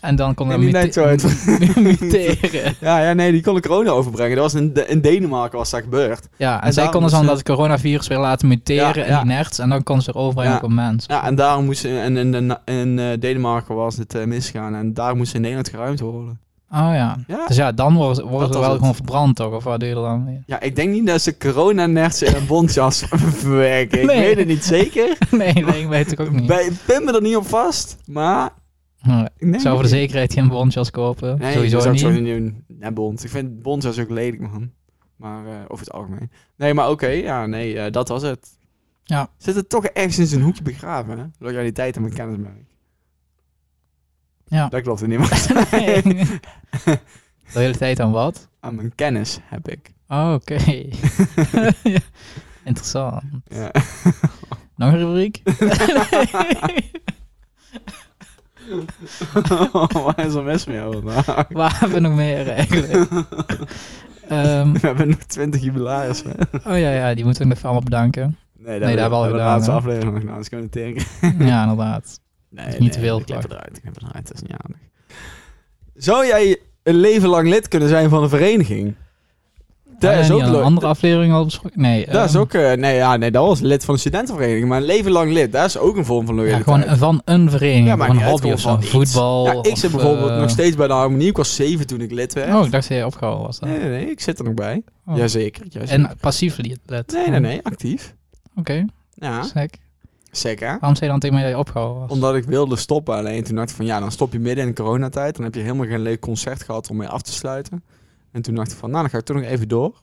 Speaker 2: En dan kon
Speaker 1: En
Speaker 2: dat
Speaker 1: die
Speaker 2: mute-
Speaker 1: lijkt zo uit.
Speaker 2: muteren.
Speaker 1: Ja, ja, nee, die konden corona overbrengen. Dat was in, De- in Denemarken was dat gebeurd.
Speaker 2: Ja, en,
Speaker 1: En
Speaker 2: zij
Speaker 1: daarom
Speaker 2: konden dan
Speaker 1: moesten-
Speaker 2: dat coronavirus weer laten muteren
Speaker 1: Ja,
Speaker 2: in
Speaker 1: ja.
Speaker 2: die nerds. En dan kon ze weer overbrengen
Speaker 1: Ja.
Speaker 2: op een mens.
Speaker 1: Ja, en daarom moest in, in, in, in, eh, Denemarken was het eh, misgaan. En daar moest in Nederland geruimd worden.
Speaker 2: Oh ja.
Speaker 1: Ja,
Speaker 2: Dus ja, dan worden ze, worden
Speaker 1: Dat
Speaker 2: ze
Speaker 1: was
Speaker 2: wel
Speaker 1: het.
Speaker 2: gewoon verbrand toch? Of wat doe je er dan mee?
Speaker 1: ja ik denk niet dat ze corona-nerds in een bondjas verwerken. Ik
Speaker 2: Nee.
Speaker 1: weet het niet zeker.
Speaker 2: Nee, nee, ik weet het ook niet.
Speaker 1: Bij, pin me er niet op vast, maar...
Speaker 2: Nee.
Speaker 1: Ik denk
Speaker 2: Ik zou voor de
Speaker 1: het niet.
Speaker 2: zekerheid geen bondjas kopen.
Speaker 1: Nee,
Speaker 2: Sowieso
Speaker 1: dat
Speaker 2: niet.
Speaker 1: zou ik zo niet doen. Ja, bond. Ik vind bondjas ook lelijk, man. Maar eh, over het algemeen. Nee, maar oké, ja, nee, eh, dat was het.
Speaker 2: Ja.
Speaker 1: Zit het toch ergens in zijn hoekje begraven, hè? Loyaliteit en mijn kennismerk.
Speaker 2: Ja.
Speaker 1: Dat klopt er niet meer.
Speaker 2: Loyaliteit aan wat?
Speaker 1: Aan mijn kennis heb ik.
Speaker 2: Oh, oké. Ja, Interessant.
Speaker 1: Ja.
Speaker 2: Nog een rubriek?
Speaker 1: Waar is er mis mee over? Maar
Speaker 2: Waar hebben we nog meer eigenlijk? Ehm,
Speaker 1: We hebben nog 20 jubilarissen.
Speaker 2: oh ja, ja, die moeten we nog even allemaal bedanken.
Speaker 1: Nee,
Speaker 2: dat hebben we
Speaker 1: de
Speaker 2: gedaan,
Speaker 1: laatste
Speaker 2: hè?
Speaker 1: aflevering nog gedaan. Dus kunnen we tanken.
Speaker 2: Ja, inderdaad.
Speaker 1: Nee,
Speaker 2: Niet te veel
Speaker 1: Ik knip
Speaker 2: plak.
Speaker 1: eruit, ik knip eruit. Dat is niet aardig. Zou jij een leven lang lid kunnen zijn van een vereniging? Dat
Speaker 2: Hebben
Speaker 1: is
Speaker 2: we
Speaker 1: ook
Speaker 2: niet al een
Speaker 1: leuk.
Speaker 2: andere aflevering al besproken. Nee,
Speaker 1: Dat is
Speaker 2: ehm,
Speaker 1: ook... eh, nee, ja, nee, dat was lid van een studentenvereniging. Maar een leven lang lid, dat is ook een vorm van
Speaker 2: ja,
Speaker 1: loyaliteit.
Speaker 2: gewoon van een vereniging,
Speaker 1: Ja,
Speaker 2: ja,
Speaker 1: maar
Speaker 2: een
Speaker 1: niet uit,
Speaker 2: hobby of
Speaker 1: gewoon
Speaker 2: zo,
Speaker 1: van iets.
Speaker 2: voetbal.
Speaker 1: Ja, ik zit
Speaker 2: of,
Speaker 1: bijvoorbeeld
Speaker 2: eh,
Speaker 1: nog steeds bij de harmonie. Ik was zeven toen ik lid werd.
Speaker 2: Oh, ik dacht dat je opgehouden was. dan.
Speaker 1: nee, nee, nee, ik zit er nog bij.
Speaker 2: Oh.
Speaker 1: Jazeker, jazeker.
Speaker 2: En Oh. passief lid.
Speaker 1: Nee, nee, nee, actief.
Speaker 2: Oké,
Speaker 1: Ja,
Speaker 2: sick.
Speaker 1: zeker.
Speaker 2: Waarom zei je dan tegen mij dat je opgehouden was?
Speaker 1: Omdat ik wilde stoppen. Alleen toen dacht ik van ja, dan stop je midden in de coronatijd. Dan heb je helemaal geen leuk concert gehad om mee af te sluiten. En toen dacht ik van nou, dan ga ik toch nog even door.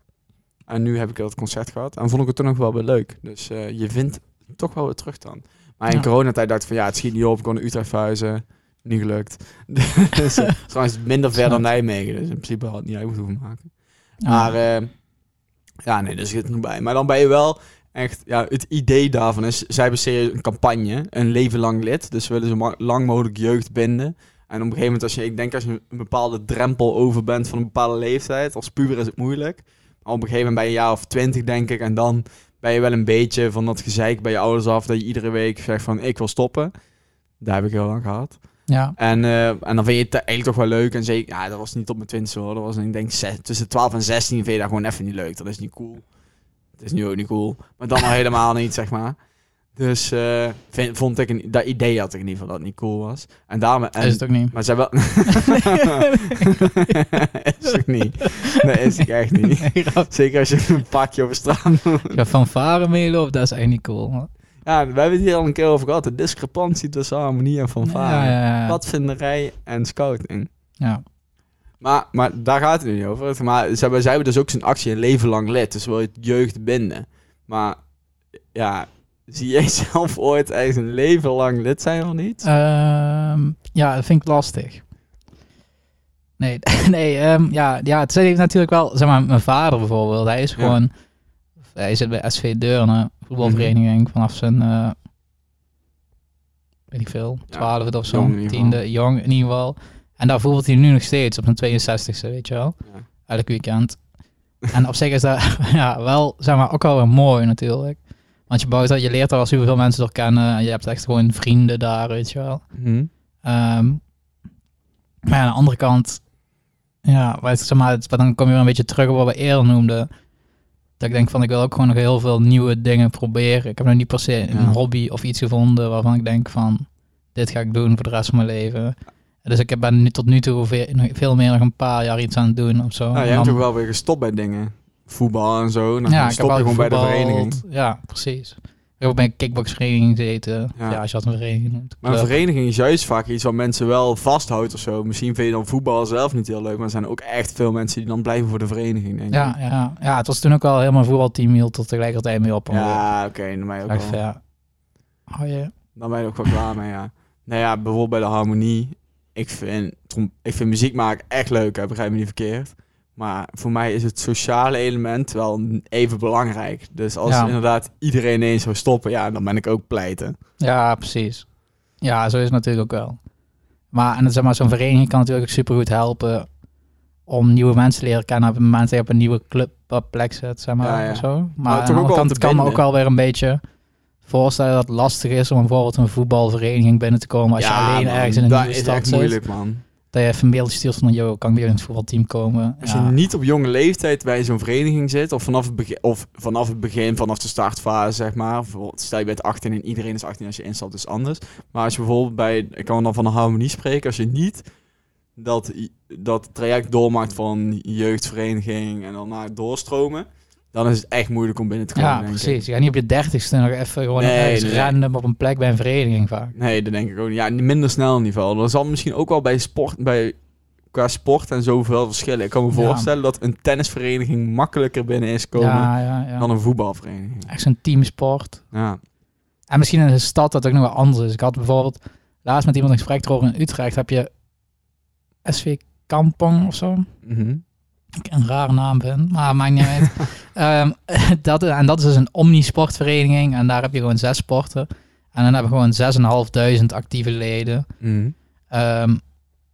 Speaker 1: En nu heb ik dat concert gehad. En vond ik het toch nog wel weer leuk. Dus eh, je vindt toch wel weer terug dan. Maar in
Speaker 2: Ja.
Speaker 1: coronatijd dacht ik van ja, het schiet niet op. Ik kon naar Utrecht verhuizen. Niet gelukt. dus, eh, trouwens minder ver dan Nijmegen. Dus in principe had het niet uit moeten hoeven maken.
Speaker 2: Ja.
Speaker 1: Maar eh, ja, nee, daar zit het nog bij. Maar dan ben je wel echt, ja, het idee daarvan is, zij hebben serieus een campagne, een leven lang lid. Dus ze willen zo ma- lang mogelijk jeugd binden. En op een gegeven moment, als je, ik denk als je een bepaalde drempel over bent van een bepaalde leeftijd, als puber is het moeilijk. Maar op een gegeven moment ben je een jaar of twintig, denk ik. En dan ben je wel een beetje van dat gezeik bij je ouders af, dat je iedere week zegt van, ik wil stoppen. Daar heb ik heel lang gehad.
Speaker 2: ja.
Speaker 1: En, eh, en dan vind je het eigenlijk toch wel leuk. En zeker, ja, dat was niet op mijn twintigste hoor. Dat was ik denk zes- tussen 12 en 16 vind je dat gewoon even niet leuk. Dat is niet cool. Het is nu ook niet cool. Maar dan al helemaal niet, zeg maar. Dus eh, vind- vond ik, een, dat idee had ik in ieder geval dat het niet cool was. En daarom... En,
Speaker 2: is het ook niet.
Speaker 1: Maar ze hebben... is ook niet. Nee, is ik echt niet.
Speaker 2: Nee, grap.
Speaker 1: Zeker als je met een pakje over straat...
Speaker 2: Ik ga fanfaren meelopen, dat is eigenlijk niet cool. hoor.
Speaker 1: ja, we hebben het hier al een keer over gehad. De discrepantie tussen harmonie en fanfare.
Speaker 2: Ja, ja, ja.
Speaker 1: Padvinderij en scouting.
Speaker 2: Ja.
Speaker 1: Maar, maar daar gaat het nu niet over. Maar ze hebben, zij hebben dus ook zijn actie een leven lang lid. Dus wil je het jeugd binden. Maar ja, zie jij zelf ooit echt een leven lang lid zijn of niet?
Speaker 2: Ehm, ja, dat vind ik lastig. Nee, nee ehm, ja, ja, het is natuurlijk wel, zeg maar, mijn vader bijvoorbeeld, hij is
Speaker 1: Ja.
Speaker 2: gewoon, hij zit bij SV Deurne, voetbalvereniging,
Speaker 1: Mhm.
Speaker 2: vanaf zijn, eh weet ik veel,
Speaker 1: Ja,
Speaker 2: twaalfde of
Speaker 1: jong
Speaker 2: zo,
Speaker 1: in ieder geval.
Speaker 2: tiende, jong in ieder geval. En daar voetbalt hij nu nog steeds, op zijn 62ste, weet je wel,
Speaker 1: Ja.
Speaker 2: elk weekend. En op zich is dat ja, wel, zeg maar, ook wel weer mooi natuurlijk. Want je bouwt dat, je leert daar al superveel mensen door kennen. En je hebt echt gewoon vrienden daar, weet je wel.
Speaker 1: Hm.
Speaker 2: Ehm, maar ja, aan de andere kant, ja, wat, zeg maar, het- dan kom je weer een beetje terug op wat we eerder noemden. Dat ik denk van, ik wil ook gewoon nog heel veel nieuwe dingen proberen. Ik heb nog niet per se een
Speaker 1: Ja.
Speaker 2: hobby of iets gevonden waarvan ik denk van, dit ga ik doen voor de rest van mijn leven. Dus ik heb- ben nu tot nu toe veel, nog veel meer nog een paar jaar iets aan het doen of zo.
Speaker 1: nou,
Speaker 2: En
Speaker 1: jij
Speaker 2: dan-
Speaker 1: hebt toch wel weer gestopt bij dingen. Voetbal en zo. Dan
Speaker 2: ja, ik heb
Speaker 1: stop je
Speaker 2: al
Speaker 1: gewoon bij de vereniging.
Speaker 2: Ja, precies. Ik heb ook bij een kickboxvereniging gezeten.
Speaker 1: Ja.
Speaker 2: Ja. als je dat een vereniging noemt.
Speaker 1: Maar een
Speaker 2: Club.
Speaker 1: vereniging is juist vaak iets wat mensen wel vasthoudt of zo. Misschien vind je dan voetbal zelf niet heel leuk. Maar er zijn ook echt veel mensen die dan blijven voor de vereniging, denk ik.
Speaker 2: Ja, ja, ja, het was toen ook wel helemaal voetbalteam hield tot tegelijkertijd mee op.
Speaker 1: Ja, oké. dan ben je
Speaker 2: ik
Speaker 1: ook
Speaker 2: dacht,
Speaker 1: wel.
Speaker 2: ja. Oh, ja.
Speaker 1: Dan ben je er ook wel klaar mee, ja. Nou ja, bijvoorbeeld bij de harmonie. Ik vind, trom- ik vind muziek maken echt leuk, hè, begrijp me niet verkeerd. Maar voor mij is het sociale element wel even belangrijk. Dus als
Speaker 2: Ja.
Speaker 1: inderdaad iedereen ineens zou stoppen, ja, dan ben ik ook pleiten.
Speaker 2: ja, precies. Ja, zo is het natuurlijk ook wel. Maar, en het- zeg maar zo'n vereniging kan natuurlijk ook supergoed helpen om nieuwe mensen te leren kennen op het moment dat je op een nieuwe club op plek zet, zeg maar.
Speaker 1: Ja, ja.
Speaker 2: of Zo. Maar,
Speaker 1: toch
Speaker 2: aan
Speaker 1: ook
Speaker 2: de andere
Speaker 1: wel
Speaker 2: kant
Speaker 1: te
Speaker 2: het kan me ook
Speaker 1: binden.
Speaker 2: wel weer een beetje voorstellen dat het lastig is om bijvoorbeeld een voetbalvereniging binnen te komen als
Speaker 1: ja,
Speaker 2: je alleen
Speaker 1: man,
Speaker 2: ergens in een
Speaker 1: dat
Speaker 2: nieuwe
Speaker 1: is
Speaker 2: stad
Speaker 1: echt
Speaker 2: zit.
Speaker 1: moeilijk, man.
Speaker 2: Dat je even een mailtje stuurt van, joh, kan ik bij jullie in het voetbalteam komen?
Speaker 1: Als
Speaker 2: Ja.
Speaker 1: je niet op jonge leeftijd bij zo'n vereniging zit, of vanaf, het begin, of vanaf het begin, vanaf de startfase, zeg maar. Bijvoorbeeld, stel je bent 18 en iedereen is 18 als je instapt, is anders. Maar als je bijvoorbeeld bij, ik kan dan van de harmonie spreken, als je niet dat, i- dat traject doormaakt van jeugdvereniging en dan naar doorstromen, dan is het echt moeilijk om binnen te komen.
Speaker 2: Ja,
Speaker 1: denk ik.
Speaker 2: precies. Je gaat niet op je dertigste nog even gewoon
Speaker 1: Nee,
Speaker 2: ergens
Speaker 1: nee.
Speaker 2: random op een plek bij een vereniging vaak.
Speaker 1: Nee, dat denk ik ook niet. Ja, minder snel in ieder geval. Dat zal misschien ook wel bij sport, bij qua sport en zoveel verschillen. Ik kan me
Speaker 2: Ja.
Speaker 1: voorstellen dat een tennisvereniging makkelijker binnen is komen
Speaker 2: Ja, ja, ja.
Speaker 1: dan een voetbalvereniging.
Speaker 2: Echt zo'n teamsport.
Speaker 1: Ja.
Speaker 2: En misschien in de stad dat ook nog wel anders is. Ik had bijvoorbeeld laatst met iemand een gesprek erover in Utrecht. Heb je SV Kampong of zo?
Speaker 1: Mhm.
Speaker 2: Ik een rare naam vind, maar maakt niet uit. Ehm, dat, en dat is dus een omnisportvereniging. En daar heb je gewoon zes sporten. En dan hebben we gewoon 6.500 actieve leden.
Speaker 1: Mhm.
Speaker 2: Ehm,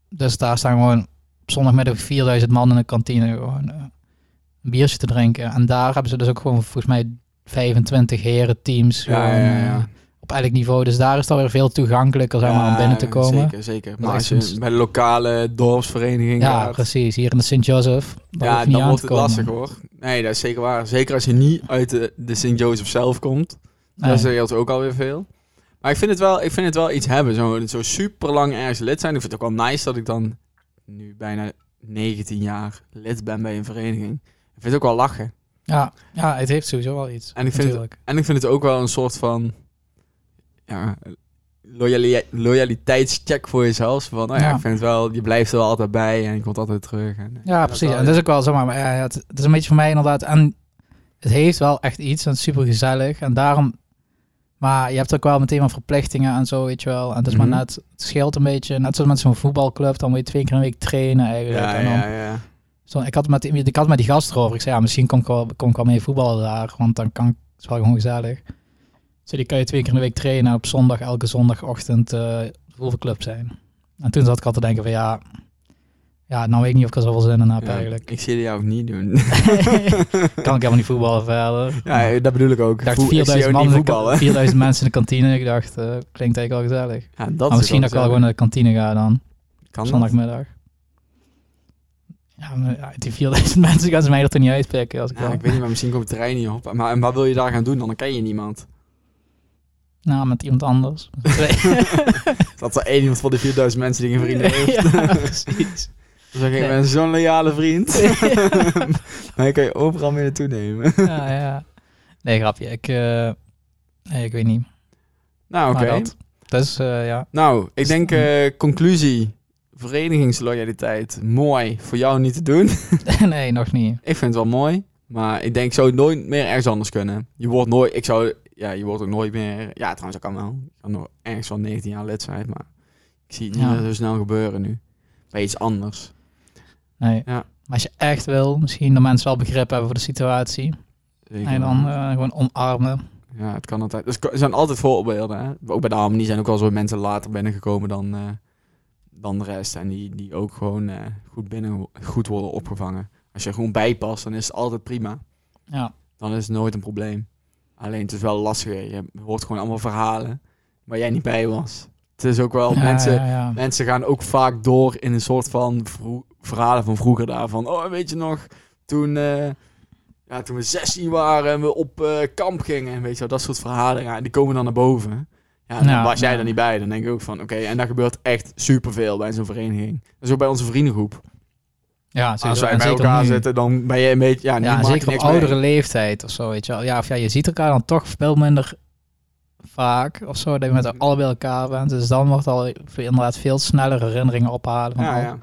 Speaker 2: dus daar staan gewoon op zondagmiddag 4000 man in de kantine gewoon eh, een biertje te drinken. En daar hebben ze dus ook gewoon volgens mij 25 heren teams
Speaker 1: Ja, ja, ja, ja.
Speaker 2: eh, op elk niveau. Dus daar is het alweer veel toegankelijker zeg maar, om
Speaker 1: Ja,
Speaker 2: binnen te komen.
Speaker 1: Zeker, zeker. Maar
Speaker 2: is
Speaker 1: als je
Speaker 2: een-
Speaker 1: bij de lokale dorpsvereniging
Speaker 2: Ja,
Speaker 1: gaat,
Speaker 2: precies. Hier in de Sint-Joseph. daar hoef
Speaker 1: ja
Speaker 2: je niet
Speaker 1: dan
Speaker 2: aan
Speaker 1: wordt
Speaker 2: te
Speaker 1: het
Speaker 2: komen.
Speaker 1: lastig hoor. Nee, dat is zeker waar. Zeker als je niet uit de, de Sint-Jozef zelf komt.
Speaker 2: Nee.
Speaker 1: Dat scheelt ook alweer veel. Maar ik vind het wel, ik vind het wel iets hebben. Zo, zo super lang ergens lid zijn. Ik vind het ook wel nice dat ik dan nu bijna 19 jaar lid ben bij een vereniging. Ik vind het ook wel lachen.
Speaker 2: Ja, ja, het heeft sowieso wel iets.
Speaker 1: En ik vind het-
Speaker 2: natuurlijk.
Speaker 1: En ik vind het ook wel een soort van ja, loyali- loyaliteitscheck voor jezelf. Zo Van, nou ja,
Speaker 2: Ja.
Speaker 1: ik vind het wel, je blijft er wel altijd bij en je komt altijd terug. En,
Speaker 2: Ja, precies.
Speaker 1: wel-
Speaker 2: En dat is ook wel zomaar. Maar ja, ja, het, het is een beetje voor mij inderdaad. En het heeft wel echt iets. En het is super gezellig. En daarom. Maar je hebt ook wel meteen wat verplichtingen en zo, weet je wel. En het is
Speaker 1: Mhm.
Speaker 2: maar net. Het scheelt een beetje. Net zoals met zo'n voetbalclub. Dan moet je twee keer een week trainen eigenlijk.
Speaker 1: ja,
Speaker 2: en dan,
Speaker 1: ja, ja.
Speaker 2: Zo, ik, had met, die- ik had met die gast erover. Ik zei, ja, misschien kom ik wel, kom ik wel mee voetballen daar. Want dan kan ik- het is wel gewoon gezellig. Dus die kan je twee keer in de week trainen. Op zondag, elke zondagochtend eh voetbalclub zijn. En toen zat ik al te denken van ja... Ja, nou weet ik niet of ik er zoveel zin in heb
Speaker 1: Ja,
Speaker 2: eigenlijk.
Speaker 1: Ik zie jou ook niet doen.
Speaker 2: kan ik helemaal niet voetballen verder.
Speaker 1: ja, dat bedoel ik ook.
Speaker 2: ik dacht
Speaker 1: Voel- ik zie
Speaker 2: 4000,
Speaker 1: jou
Speaker 2: man
Speaker 1: niet
Speaker 2: in de ka-
Speaker 1: voetballen.
Speaker 2: 4000 mensen in de kantine. Ik dacht, eh, klinkt eigenlijk wel gezellig.
Speaker 1: Ja, dat
Speaker 2: maar
Speaker 1: is
Speaker 2: Oh, misschien dat ik wel gewoon naar de kantine ga dan.
Speaker 1: Kan
Speaker 2: Op
Speaker 1: dat?
Speaker 2: zondagmiddag. Ja, maar ja, die 4000 mensen gaan ze mij er toch niet uitpikken als ik
Speaker 1: Ja,
Speaker 2: dan-
Speaker 1: ik weet niet, maar misschien komt de trein niet op. Maar en wat wil je daar gaan doen? Dan ken je niemand.
Speaker 2: Nou, met iemand anders.
Speaker 1: Dat is er één iemand van de 4000 mensen die geen vrienden heeft.
Speaker 2: ja, precies.
Speaker 1: Dan zeg ik, ik
Speaker 2: Nee.
Speaker 1: ben zo'n loyale vriend. maar je kan je overal mee naartoe nemen.
Speaker 2: Ja, ja. Nee, grapje. Ik, eh, nee, ik weet niet.
Speaker 1: Nou, oké.
Speaker 2: Maar dat. Dus eh, ja.
Speaker 1: Nou, ik denk eh, conclusie. Verenigingsloyaliteit. Mooi. Voor jou niet te doen.
Speaker 2: nee, nog niet.
Speaker 1: Ik vind het wel mooi. Maar ik denk, ik zou het nooit meer ergens anders kunnen. Je wordt nooit... Ik zou... Ja, je wordt ook nooit meer... Ja, trouwens, dat kan wel. Ik kan nog ergens van 19 jaar lid zijn. Maar ik zie het niet
Speaker 2: Ja.
Speaker 1: meer zo snel gebeuren nu. Bij iets anders. Dus
Speaker 2: Nee.
Speaker 1: Ja.
Speaker 2: Maar als je echt wil, misschien de mensen wel begrip hebben voor de situatie.
Speaker 1: Zeker.
Speaker 2: En dan eh, gewoon omarmen.
Speaker 1: Ja, het kan altijd. Dus er zijn altijd voorbeelden. Hè? Ook bij de Harmonie zijn ook wel zo mensen later binnengekomen dan, eh, dan de rest. En die, die ook gewoon eh, goed binnen goed worden opgevangen. Als je er gewoon bijpast, dan is het altijd prima.
Speaker 2: Ja.
Speaker 1: Dan is het nooit een probleem. Alleen het is wel lastiger. Je hoort gewoon allemaal verhalen waar jij niet bij was. Het is ook wel
Speaker 2: Ja,
Speaker 1: mensen.
Speaker 2: ja, ja.
Speaker 1: Mensen gaan ook vaak door in een soort van vro- verhalen van vroeger daarvan. Oh, weet je nog, toen, eh, ja, toen we 16 waren en we op eh, kamp gingen. En weet je wel, dat soort verhalen, ja, die komen dan naar boven. Ja, en dan
Speaker 2: Ja,
Speaker 1: was jij
Speaker 2: ja.
Speaker 1: er niet bij. Dan denk ik ook van, oké, en daar gebeurt echt superveel bij zo'n vereniging. Dat is ook bij onze vriendengroep.
Speaker 2: Ja,
Speaker 1: Als
Speaker 2: sowieso.
Speaker 1: wij
Speaker 2: En
Speaker 1: bij
Speaker 2: zeker
Speaker 1: elkaar
Speaker 2: nu.
Speaker 1: zitten, dan ben je een beetje, ja, nu
Speaker 2: Ja,
Speaker 1: maak
Speaker 2: en
Speaker 1: je
Speaker 2: zeker op
Speaker 1: niks mee.
Speaker 2: oudere leeftijd of zo, weet je wel. Ja, of ja, je ziet elkaar dan toch veel minder vaak of zo, dat je
Speaker 1: Mm-hmm.
Speaker 2: met allebei bij elkaar bent. Dus dan wordt al inderdaad veel sneller herinneringen ophalen. Van
Speaker 1: Ja,
Speaker 2: al-
Speaker 1: ja.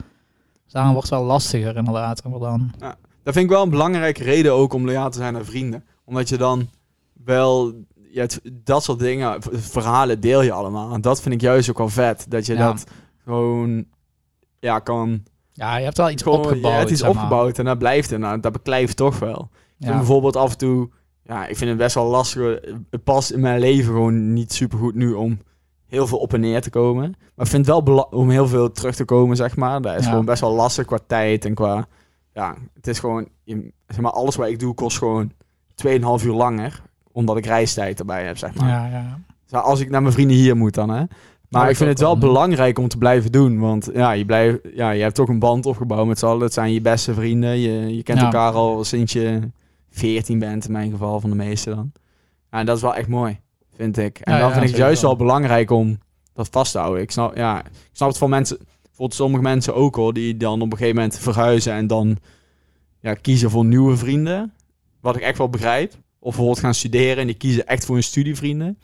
Speaker 2: Dus daarom wordt het wel lastiger inderdaad. Maar dan,
Speaker 1: Dat vind ik wel een belangrijke reden ook om loyaal te zijn aan vrienden. Omdat je dan wel... Ja, het- dat soort dingen, v- verhalen deel je allemaal. En dat vind ik juist ook wel vet. Dat je
Speaker 2: Ja.
Speaker 1: dat gewoon... Ja, kan...
Speaker 2: ja, je hebt wel iets
Speaker 1: gewoon-
Speaker 2: opgebouwd.
Speaker 1: ja, het is
Speaker 2: zeg maar.
Speaker 1: opgebouwd en dat blijft er. Nou, dat beklijft toch wel. Ik vind
Speaker 2: Ja.
Speaker 1: bijvoorbeeld af en toe... Ja, ik vind het best wel lastig. Het past in mijn leven gewoon niet supergoed nu om heel veel op en neer te komen. Maar ik vind het wel bela- om heel veel terug te komen, zeg maar. Dat is
Speaker 2: Ja.
Speaker 1: gewoon best wel lastig qua tijd en qua... Ja, het is gewoon... je- Zeg maar, alles wat ik doe kost gewoon 2,5 uur langer. Omdat ik reistijd erbij heb, zeg maar.
Speaker 2: Ja, ja.
Speaker 1: Zo, Als ik naar mijn vrienden hier moet dan, hè. Maar
Speaker 2: Ja,
Speaker 1: ik vind
Speaker 2: dat
Speaker 1: het wel
Speaker 2: kan.
Speaker 1: belangrijk om te blijven doen. Want ja, je, blijft, ja, je hebt toch een band opgebouwd met z'n allen. Het zijn je beste vrienden. Je, je kent
Speaker 2: Ja.
Speaker 1: elkaar al sinds je 14 bent, in mijn geval, van de meeste dan. Ja, en dat is wel echt mooi, vind ik. En
Speaker 2: Ja,
Speaker 1: dan
Speaker 2: ja,
Speaker 1: vind ik het juist
Speaker 2: sowieso.
Speaker 1: wel belangrijk om dat vast te houden. Ik snap, ja, ik snap het van mensen, bijvoorbeeld sommige mensen ook hoor, die dan op een gegeven moment verhuizen en dan ja, kiezen voor nieuwe vrienden. Wat ik echt wel begrijp. Of bijvoorbeeld gaan studeren en die kiezen echt voor hun studievrienden.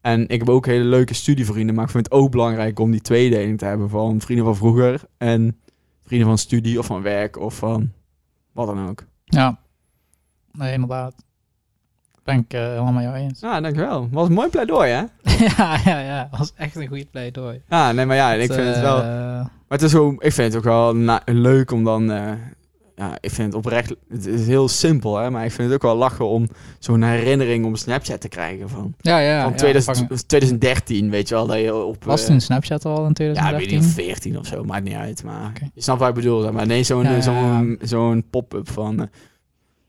Speaker 1: En ik heb ook hele leuke studievrienden, maar ik vind het ook belangrijk om die tweedeling te hebben van vrienden van vroeger en vrienden van studie of van werk of van wat dan ook.
Speaker 2: Ja. Nee, inderdaad. Ben ik eh, helemaal met jou eens.
Speaker 1: Ah, dankjewel. Was een mooi pleidooi, hè?
Speaker 2: ja, ja, ja. Dat was echt een goede pleidooi.
Speaker 1: Ja, nee, maar ja, ik vind het wel...
Speaker 2: Eh,
Speaker 1: Maar het is gewoon, ik vind het ook wel na- leuk om dan. eh, ja, ik vind het oprecht. Het is heel simpel, hè, maar ik vind het ook wel lachen om zo'n herinnering om Snapchat te krijgen van.
Speaker 2: ja, ja.
Speaker 1: van
Speaker 2: ja,
Speaker 1: 2000
Speaker 2: vangen.
Speaker 1: 2013, weet je wel. Dat je op.
Speaker 2: Was
Speaker 1: eh,
Speaker 2: toen Snapchat al in
Speaker 1: ja, ik weet
Speaker 2: 2013?
Speaker 1: niet, 14 of zo, maakt niet uit. Maar
Speaker 2: Oké.
Speaker 1: je snapt wat ik bedoel. Zeg maar nee, zo'n
Speaker 2: Ja, ja, ja.
Speaker 1: zo'n zo'n pop-up van. eh,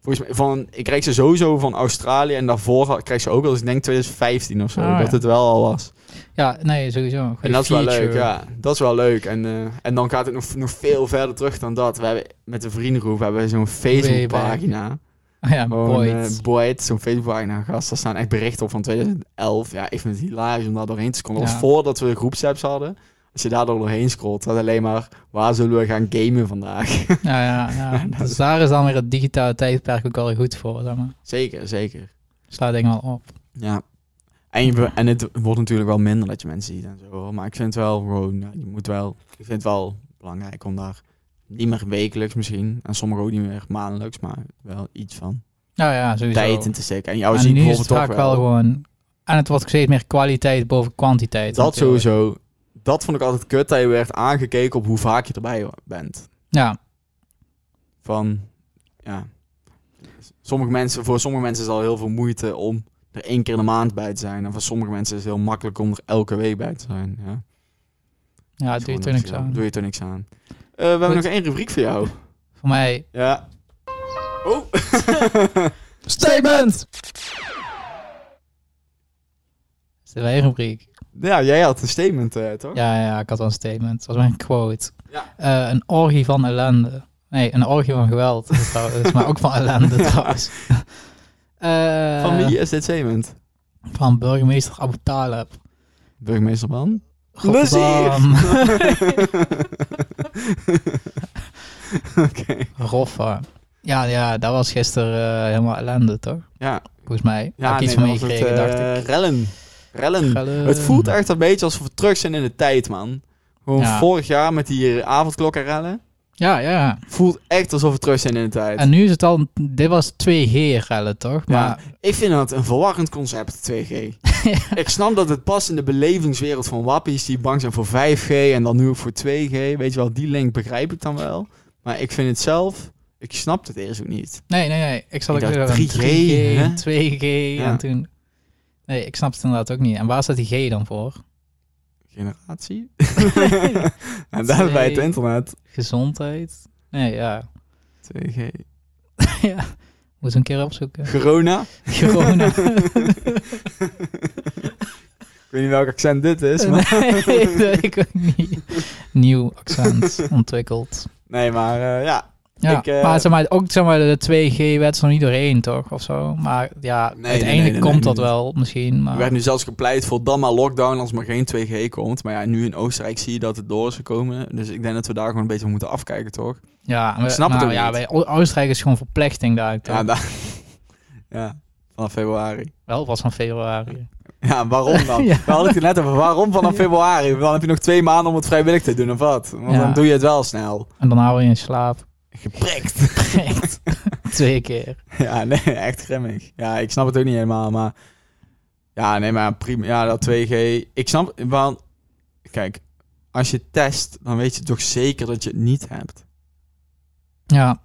Speaker 1: volgens mij, van, ik kreeg ze sowieso van Australië en daarvoor had- kreeg ze ook wel, dus ik denk 2015 of zo,
Speaker 2: Ah,
Speaker 1: dat
Speaker 2: ja.
Speaker 1: het wel al was.
Speaker 2: Ja, nee, sowieso. Een
Speaker 1: En
Speaker 2: goede
Speaker 1: dat is wel
Speaker 2: feature.
Speaker 1: leuk, ja. Dat is wel leuk. En, eh, en dan gaat het nog, nog veel verder terug dan dat. We hebben met de vriendengroep hebben we zo'n Facebookpagina.
Speaker 2: Ah ja,
Speaker 1: Gewoon, eh,
Speaker 2: Boyd.
Speaker 1: Boyd, zo'n Facebookpagina, gast. Daar staan echt berichten op van 2011. Ja, ik vind het hilarisch om daar doorheen te scrollen. Dat
Speaker 2: Ja.
Speaker 1: was voordat we de groepsapps hadden. Als je daar doorheen scrolt, staat alleen maar... Waar zullen we gaan gamen vandaag?
Speaker 2: ja, ja, ja. Dus daar is dan weer het digitale tijdperk ook wel goed voor, zeg maar. Dus
Speaker 1: zeker, zeker.
Speaker 2: Slaat dingen wel op.
Speaker 1: Ja. En, je, be- en het wordt natuurlijk wel minder dat je mensen ziet en zo. hoor. Maar ik vind het wel gewoon, ja, je moet wel, ik vind het wel belangrijk om daar niet meer wekelijks misschien, en sommigen ook niet meer maandelijks, maar wel iets van
Speaker 2: Nou ja, sowieso.
Speaker 1: tijd in te steken. En jou
Speaker 2: en
Speaker 1: zien
Speaker 2: nu is het
Speaker 1: bijvoorbeeld toch
Speaker 2: vaak
Speaker 1: wel.
Speaker 2: wel gewoon... En het wordt steeds meer kwaliteit boven kwantiteit.
Speaker 1: dat
Speaker 2: natuurlijk.
Speaker 1: sowieso, dat vond ik altijd kut, dat je werd aangekeken op hoe vaak je erbij wa- bent.
Speaker 2: Ja,
Speaker 1: Van, ja. Sommige mensen, voor sommige mensen is het al heel veel moeite om er één keer in de maand bij te zijn. En voor sommige mensen is het heel makkelijk om er elke week bij te zijn. Ja.
Speaker 2: ja dat Ah, doe je
Speaker 1: Gewoon
Speaker 2: toen
Speaker 1: niks
Speaker 2: niks aan.
Speaker 1: Doe je er niks aan. Eh, we hebben nog één rubriek voor jou.
Speaker 2: Voor mij...
Speaker 1: Ja. Oh.
Speaker 2: Statement! Is dit weer een rubriek?
Speaker 1: ja, jij had een statement, eh, toch?
Speaker 2: Ja, ja, ik had wel een statement. Dat was mijn quote.
Speaker 1: Ja.
Speaker 2: Eh, een orgie van ellende. Nee, een orgie van geweld. is het trouwens, maar ook van ellende trouwens. Eh,
Speaker 1: Van wie is dit statement?
Speaker 2: Van burgemeester Abu Talib.
Speaker 1: Burgemeester Ban?
Speaker 2: Rotterdam.
Speaker 1: Oké.
Speaker 2: Roffa. Ja, ja, dat was gisteren eh, helemaal ellende, toch?
Speaker 1: Ja.
Speaker 2: Volgens mij. Ja,
Speaker 1: Ja,
Speaker 2: Heb ik iets
Speaker 1: nee,
Speaker 2: van
Speaker 1: dan was
Speaker 2: meegekregen,
Speaker 1: het,
Speaker 2: dacht
Speaker 1: eh,
Speaker 2: ik.
Speaker 1: Rellen. Rellen.
Speaker 2: Rellen.
Speaker 1: Het voelt echt een beetje alsof we terug zijn in de tijd, man. Gewoon
Speaker 2: Ja.
Speaker 1: vorig jaar met die avondklokken rellen.
Speaker 2: Ja, ja, ja.
Speaker 1: Voelt echt alsof we terug zijn in de tijd.
Speaker 2: En nu is het al... Dit was 2G-rellen, toch?
Speaker 1: Ja.
Speaker 2: Maar
Speaker 1: Ik vind dat een verwarrend concept, 2G. Ik snap dat het past in de belevingswereld van wappies die bang zijn voor 5G en dan nu ook voor 2G. Weet je wel, die link begrijp ik dan wel. Maar ik vind het zelf, ik snap het eerst ook niet.
Speaker 2: Nee, nee, nee. Ik zat
Speaker 1: Ik
Speaker 2: ook
Speaker 1: dacht
Speaker 2: weer aan
Speaker 1: 3G,
Speaker 2: 3G,
Speaker 1: hè?
Speaker 2: 2G
Speaker 1: Ja.
Speaker 2: en toen... Nee, ik snap het inderdaad ook niet. En waar staat die G dan voor?
Speaker 1: Generatie? en daar bij het internet.
Speaker 2: Gezondheid? Nee, ja.
Speaker 1: 2G.
Speaker 2: ja. Moet een keer opzoeken.
Speaker 1: Corona?
Speaker 2: Corona.
Speaker 1: Ik weet niet welk accent dit is, maar...
Speaker 2: nee, dat ik ook niet. Nieuw accent ontwikkeld.
Speaker 1: Nee, maar eh, ja.
Speaker 2: Ja,
Speaker 1: Ik, eh,
Speaker 2: maar, zeg maar ook zeg maar, de 2G werd er niet doorheen, toch? Of zo. Maar ja,
Speaker 1: nee,
Speaker 2: uiteindelijk
Speaker 1: nee, nee,
Speaker 2: komt
Speaker 1: nee,
Speaker 2: dat
Speaker 1: nee.
Speaker 2: wel misschien.
Speaker 1: Er
Speaker 2: Maar...
Speaker 1: werd nu zelfs gepleit voor dan maar lockdown als maar geen 2G komt. Maar ja, nu in Oostenrijk zie je dat het door is gekomen. Dus ik denk dat we daar gewoon een beetje van moeten afkijken, toch?
Speaker 2: Ja, maar,
Speaker 1: snap het
Speaker 2: nou,
Speaker 1: ook
Speaker 2: ja,
Speaker 1: niet.
Speaker 2: bij O- Oostenrijk is gewoon verplichting daar. toch?
Speaker 1: Ja, daar- ja, vanaf februari.
Speaker 2: Wel was van februari.
Speaker 1: Ja, waarom dan?
Speaker 2: Ja.
Speaker 1: We hadden het hier net over. Waarom vanaf februari? Dan heb je nog twee maanden om het vrijwillig te doen of wat? Want
Speaker 2: Ja.
Speaker 1: dan doe je het wel snel.
Speaker 2: En daarna weer in slaap.
Speaker 1: Geprikt.
Speaker 2: Echt. Twee keer.
Speaker 1: ja, nee, echt grimmig. Ja, ik snap het ook niet helemaal, maar... Ja, nee, maar prima. Ja, dat 2G... Ik snap... Want, kijk, als je test, dan weet je toch zeker dat je het niet hebt.
Speaker 2: Ja,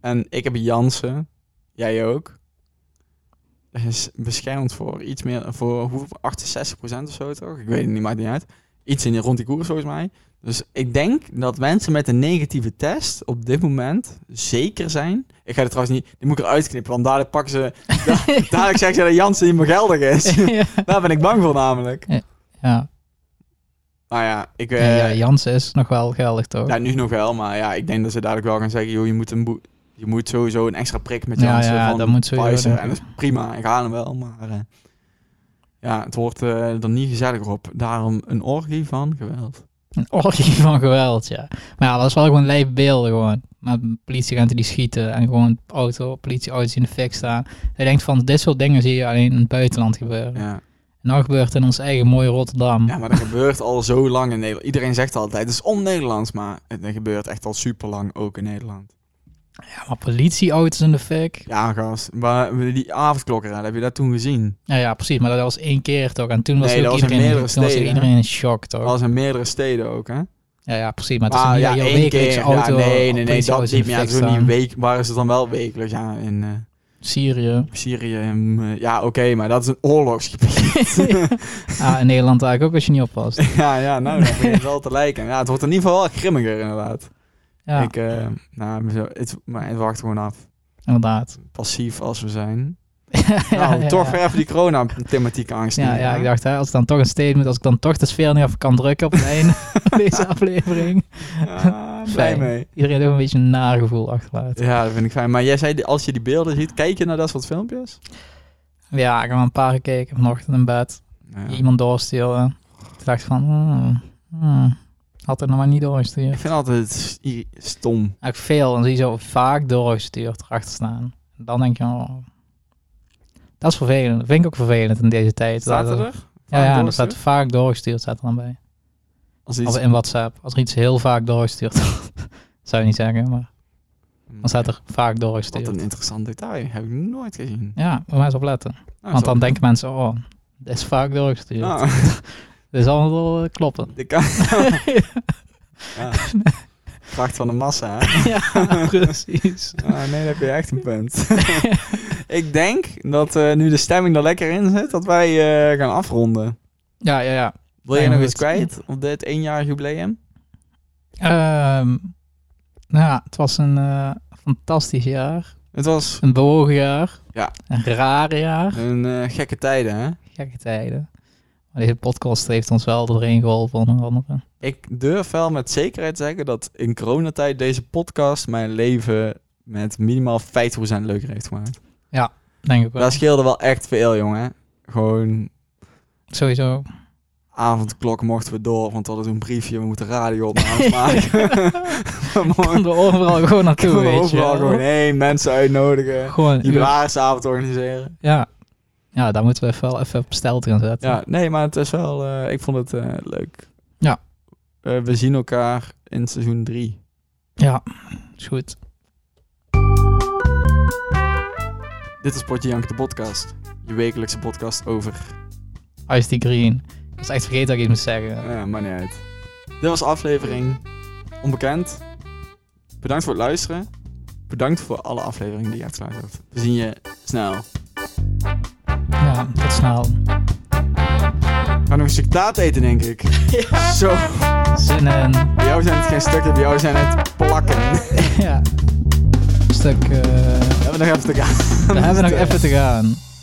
Speaker 1: En ik heb Jansen. Jij ook. Er is beschermd voor iets meer, voor hoeveel, 68% of zo toch? Ik weet het niet, maakt niet uit. Iets in, rond die koers volgens mij. Dus ik denk dat mensen met een negatieve test op dit moment zeker zijn. Ik ga het trouwens niet, die moet ik eruit knippen, want dadelijk pakken ze, da- dadelijk zeggen ze dat Jansen niet meer geldig is. Daar ben ik bang voor namelijk.
Speaker 2: ja.
Speaker 1: Nou ja, ik,
Speaker 2: ja,
Speaker 1: eh, nou,
Speaker 2: ja Jansen is nog wel geldig, toch?
Speaker 1: ja, nu nog wel, maar ja, ik denk dat ze dadelijk wel gaan zeggen, joh, je moet, een boe- je moet sowieso een extra prik met
Speaker 2: Ja,
Speaker 1: Janssen
Speaker 2: ja,
Speaker 1: van
Speaker 2: dat moet sowieso,
Speaker 1: Pfizer.
Speaker 2: denk ik.
Speaker 1: En dat is prima, ik haal hem wel, maar eh, ja, het hoort eh er niet gezelliger op. Daarom een orgie van geweld.
Speaker 2: Een orgie van geweld, ja. Maar ja, dat is wel gewoon lijp beelden gewoon. Met politieagenten die schieten en gewoon auto, politieauto's die in de fik staan. Je denkt van, dit soort dingen zie je alleen in het buitenland gebeuren.
Speaker 1: Ja,
Speaker 2: En Nou gebeurt in ons eigen mooie Rotterdam.
Speaker 1: Ja, maar dat gebeurt al zo lang in Nederland. Iedereen zegt altijd, het is on-Nederlands, maar het gebeurt echt al super lang ook in Nederland.
Speaker 2: Ja, maar politieauto's in de fik.
Speaker 1: Ja, gast. Maar die avondklokkerij, heb je dat toen gezien?
Speaker 2: Ja, ja, precies. Maar dat was één keer toch? En toen was,
Speaker 1: Nee,
Speaker 2: ook
Speaker 1: dat was in
Speaker 2: iedereen,
Speaker 1: meerdere
Speaker 2: toen was ook
Speaker 1: steden, hè?
Speaker 2: iedereen in shock, toch?
Speaker 1: Dat was in meerdere steden ook, hè?
Speaker 2: Ja, ja, precies. Maar het is
Speaker 1: Ah,
Speaker 2: niet
Speaker 1: ja,
Speaker 2: jouw
Speaker 1: één
Speaker 2: wekelijkse
Speaker 1: keer. Ja,
Speaker 2: auto.
Speaker 1: nee, nee, nee, dat
Speaker 2: politieauto's in
Speaker 1: niet.
Speaker 2: de
Speaker 1: Ja,
Speaker 2: fik
Speaker 1: zo niet
Speaker 2: staan.
Speaker 1: een week. Waar is het dan wel wekelijks? Ja, in eh,
Speaker 2: Syrië.
Speaker 1: Syrië. en, eh, ja, oké, maar dat is een oorlogsgebied.
Speaker 2: Ah, in Nederland eigenlijk ook als je niet oppast.
Speaker 1: ja, ja, nou, dat begint wel te lijken. Ja, het wordt in ieder geval wel grimmiger, inderdaad.
Speaker 2: Ja,
Speaker 1: Ik, eh, nou, zo- het, maar het wacht gewoon af.
Speaker 2: inderdaad.
Speaker 1: Passief als we zijn.
Speaker 2: ja,
Speaker 1: nou,
Speaker 2: ja,
Speaker 1: toch
Speaker 2: ja.
Speaker 1: weer even die corona-thematiek angst.
Speaker 2: Ja,
Speaker 1: in,
Speaker 2: ja, ik dacht, hè, als ik dan toch een statement, als ik dan toch de sfeer niet even kan drukken op het einde van deze aflevering.
Speaker 1: Ja, blij
Speaker 2: Fijn.
Speaker 1: Ah, mee.
Speaker 2: Iedereen heeft ook een beetje een nagevoel achterlaten.
Speaker 1: Ja, dat vind ik fijn. Maar jij zei, als je die beelden ziet, kijk je naar dat soort filmpjes?
Speaker 2: Ja, ik heb een paar gekeken vanochtend in bed.
Speaker 1: Ja.
Speaker 2: Iemand doorsturen. Ik dacht van, hmm, hmm, had het nog maar niet
Speaker 1: Ik
Speaker 2: doorgestuurd.
Speaker 1: vind altijd s- i- stom.
Speaker 2: Eigenlijk veel, dan zie je zo vaak doorgestuurd erachter staan. Dan denk je, oh, dat is vervelend. Dat vind ik ook vervelend in deze tijd.
Speaker 1: Staat
Speaker 2: Dat-
Speaker 1: het er?
Speaker 2: Ja, ja, dat
Speaker 1: doorgestuurd?
Speaker 2: staat vaak doorgestuurd, staat er dan bij.
Speaker 1: Als
Speaker 2: Als
Speaker 1: iets...
Speaker 2: in WhatsApp. Als er iets heel vaak doorgestuurd wordt, zou je niet zeggen, maar dan staat er vaak
Speaker 1: Wat een
Speaker 2: doorgestuurd.
Speaker 1: interessant detail. Heb ik nooit gezien.
Speaker 2: Ja, moet maar eens op letten.
Speaker 1: Nou,
Speaker 2: Want
Speaker 1: zo.
Speaker 2: dan denken mensen, oh, dat is vaak doorgestuurd.
Speaker 1: Ah,
Speaker 2: Dat is allemaal wel eh, kloppen.
Speaker 1: de ka- ja. Kracht van de massa, hè?
Speaker 2: ja, precies.
Speaker 1: Ah, nee, daar heb je echt een punt. ik denk dat eh, nu de stemming er lekker in zit, dat wij eh, gaan afronden.
Speaker 2: Ja, ja, ja.
Speaker 1: Wil je
Speaker 2: Fijn,
Speaker 1: nog
Speaker 2: goed.
Speaker 1: iets kwijt op dit eenjarig jubileum?
Speaker 2: Ehm, nou ja, het was een eh, fantastisch jaar.
Speaker 1: Het was
Speaker 2: Een bewogen jaar.
Speaker 1: Ja.
Speaker 2: Een raar jaar.
Speaker 1: een eh, gekke tijden, hè?
Speaker 2: Gekke tijden. Maar deze podcast heeft ons wel doorheen geholpen, onder andere.
Speaker 1: Ik durf wel met zekerheid te zeggen dat in coronatijd deze podcast mijn leven met minimaal 50% leuker heeft gemaakt.
Speaker 2: Denk ik wel.
Speaker 1: Dat scheelde wel echt veel, jongen. Gewoon
Speaker 2: Sowieso.
Speaker 1: avondklok mochten we door, want we hadden een briefje, we moeten radioopnames maken. We
Speaker 2: Kon
Speaker 1: mochten
Speaker 2: er overal gewoon naartoe,
Speaker 1: we
Speaker 2: weet je.
Speaker 1: overal
Speaker 2: wel.
Speaker 1: gewoon heen, mensen uitnodigen,
Speaker 2: Gewoon een uur.
Speaker 1: jubilaarsavond organiseren.
Speaker 2: Ja. Ja, daar moeten we even wel even op stijl gaan zetten.
Speaker 1: Ja, nee, maar het is wel, eh, ik vond het eh, leuk.
Speaker 2: Ja.
Speaker 1: Eh, we zien elkaar in seizoen 3.
Speaker 2: Ja, is goed.
Speaker 1: Dit is Potje Jank de podcast. Je wekelijkse podcast over
Speaker 2: Ice die Green. Ik was echt vergeten dat ik iets moest zeggen.
Speaker 1: Ja, maar niet uit. Dit was aflevering Onbekend. Bedankt voor het luisteren. Bedankt voor alle afleveringen die je hebt geluisterd. We zien je snel.
Speaker 2: Ja, tot snel.
Speaker 1: We gaan nog een stuk taart eten, denk ik. Zo,
Speaker 2: Zin in.
Speaker 1: bij jou zijn het geen stukken, bij jou zijn het plakken. We
Speaker 2: ja. Een stuk. eh
Speaker 1: hebben nog even te gaan.
Speaker 2: we hebben nog even te gaan.